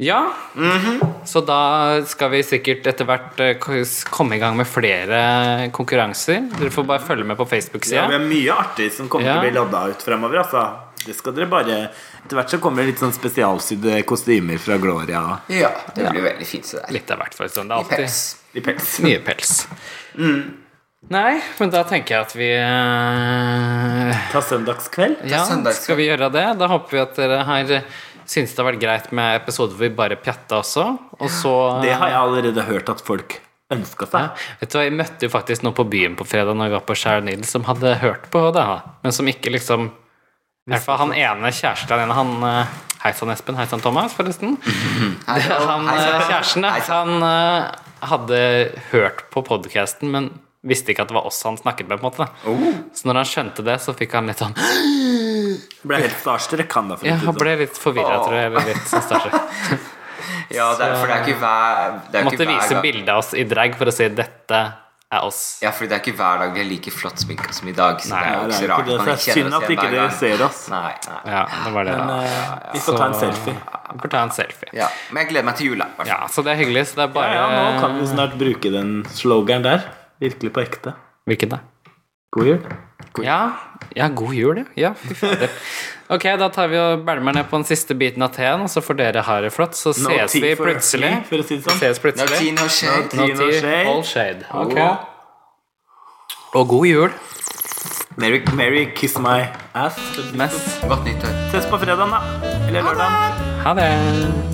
S1: Ja,
S2: Mhm.
S1: så da skal vi sikkert etter hvert eh, k- komme i gang med flere konkurranser. Dere får bare følge med på
S2: Ja, vi
S1: Facebook-sida.
S2: har mye artig som kommer
S1: Ja.
S2: til å bli lodda ut fremover. Altså. Det skal dere bare Etter hvert så kommer det litt sånn spesialsydde kostymer fra Gloria
S3: Ja, det blir veldig fint. Så der.
S1: Litt av hvert, for å si det sånn. Det er alltid
S2: i pels. Mm.
S3: Peps.
S1: Mye pels. Nei, men da tenker jeg at vi eh,
S2: Ta søndagskveld.
S1: Ja,
S3: søndag.
S1: skal vi gjøre det? Da håper vi at dere har syntes det har vært greit med episoder hvor vi bare pjatta også, og så
S2: Det har jeg allerede hørt at folk ønska
S1: ja.
S2: seg.
S1: Vet du hva, Jeg møtte jo faktisk noen på byen på fredag når vi var på Skjær Nils, som hadde hørt på det, da, men som ikke liksom I hvert fall han ene kjæresten han ene, han eh, Hei sann, Espen. Hei sann, Thomas, forresten.
S3: Hei,
S1: Han,
S3: hei,
S1: eh,
S3: sann.
S1: kjæresten, da,
S3: Hei, sann.
S1: han eh, hadde hørt på podkasten, men visste ikke at det var oss han snakket med, på en måte. da.
S3: Oh.
S1: Så når han skjønte det, så fikk han litt sånn
S2: Ble helt starstruck, han da. For
S1: Ja,
S2: å
S1: han
S2: si det sånn.
S1: ble litt forvirra, tror jeg. Eller litt sånn starstruck.
S3: Ja, det er, for det er ikke hver det er
S1: Måtte
S3: ikke hver
S1: vise
S3: gang-
S1: bilde av oss i drag for å si 'dette er oss'.
S3: Ja, for det er ikke hver dag vi er like flott sminka som i dag. Så det er jo
S2: Nei,
S3: ikke
S2: det
S3: så
S2: er
S3: rart
S2: ikke det.
S3: man
S2: Det er
S3: ikke kjenner
S2: synd at
S3: oss igjen
S2: ikke
S3: hver
S2: dere
S3: gang.
S2: ser oss.
S3: Nei, nei.
S1: Ja, det var det. da.
S2: Eh, Vi får ta en selfie.
S1: Vi får ta en selfie.
S3: Ja, men jeg gleder meg til jula. i hvert fall.
S1: Ja, så det er hyggelig. Så det er
S2: Ja,
S1: bare
S2: ja, nå kan vi snart bruke den slogeren der. Virkelig på ekte.
S1: Hvilken, da?
S2: God jul.
S1: Ja, ja, god jul, ja. ja. fy fader. Ok, da tar vi og bælmer ned på den siste biten av teen, og så får dere ha det flott. Så
S2: No
S1: ses
S2: tea
S1: vi
S2: for
S1: plutselig.
S2: tea, for å si det sånn.
S1: Ses
S3: No tea,
S1: plutselig.
S3: no shade.
S2: No tea, no
S1: tea,
S2: shade.
S1: all shade. Ok. Og god jul.
S2: Mary, Mary kiss my ass.
S1: Mess.
S3: Godt nyttår.
S2: Ses på fredagen, da. Eller lørdagen.
S1: Ha det.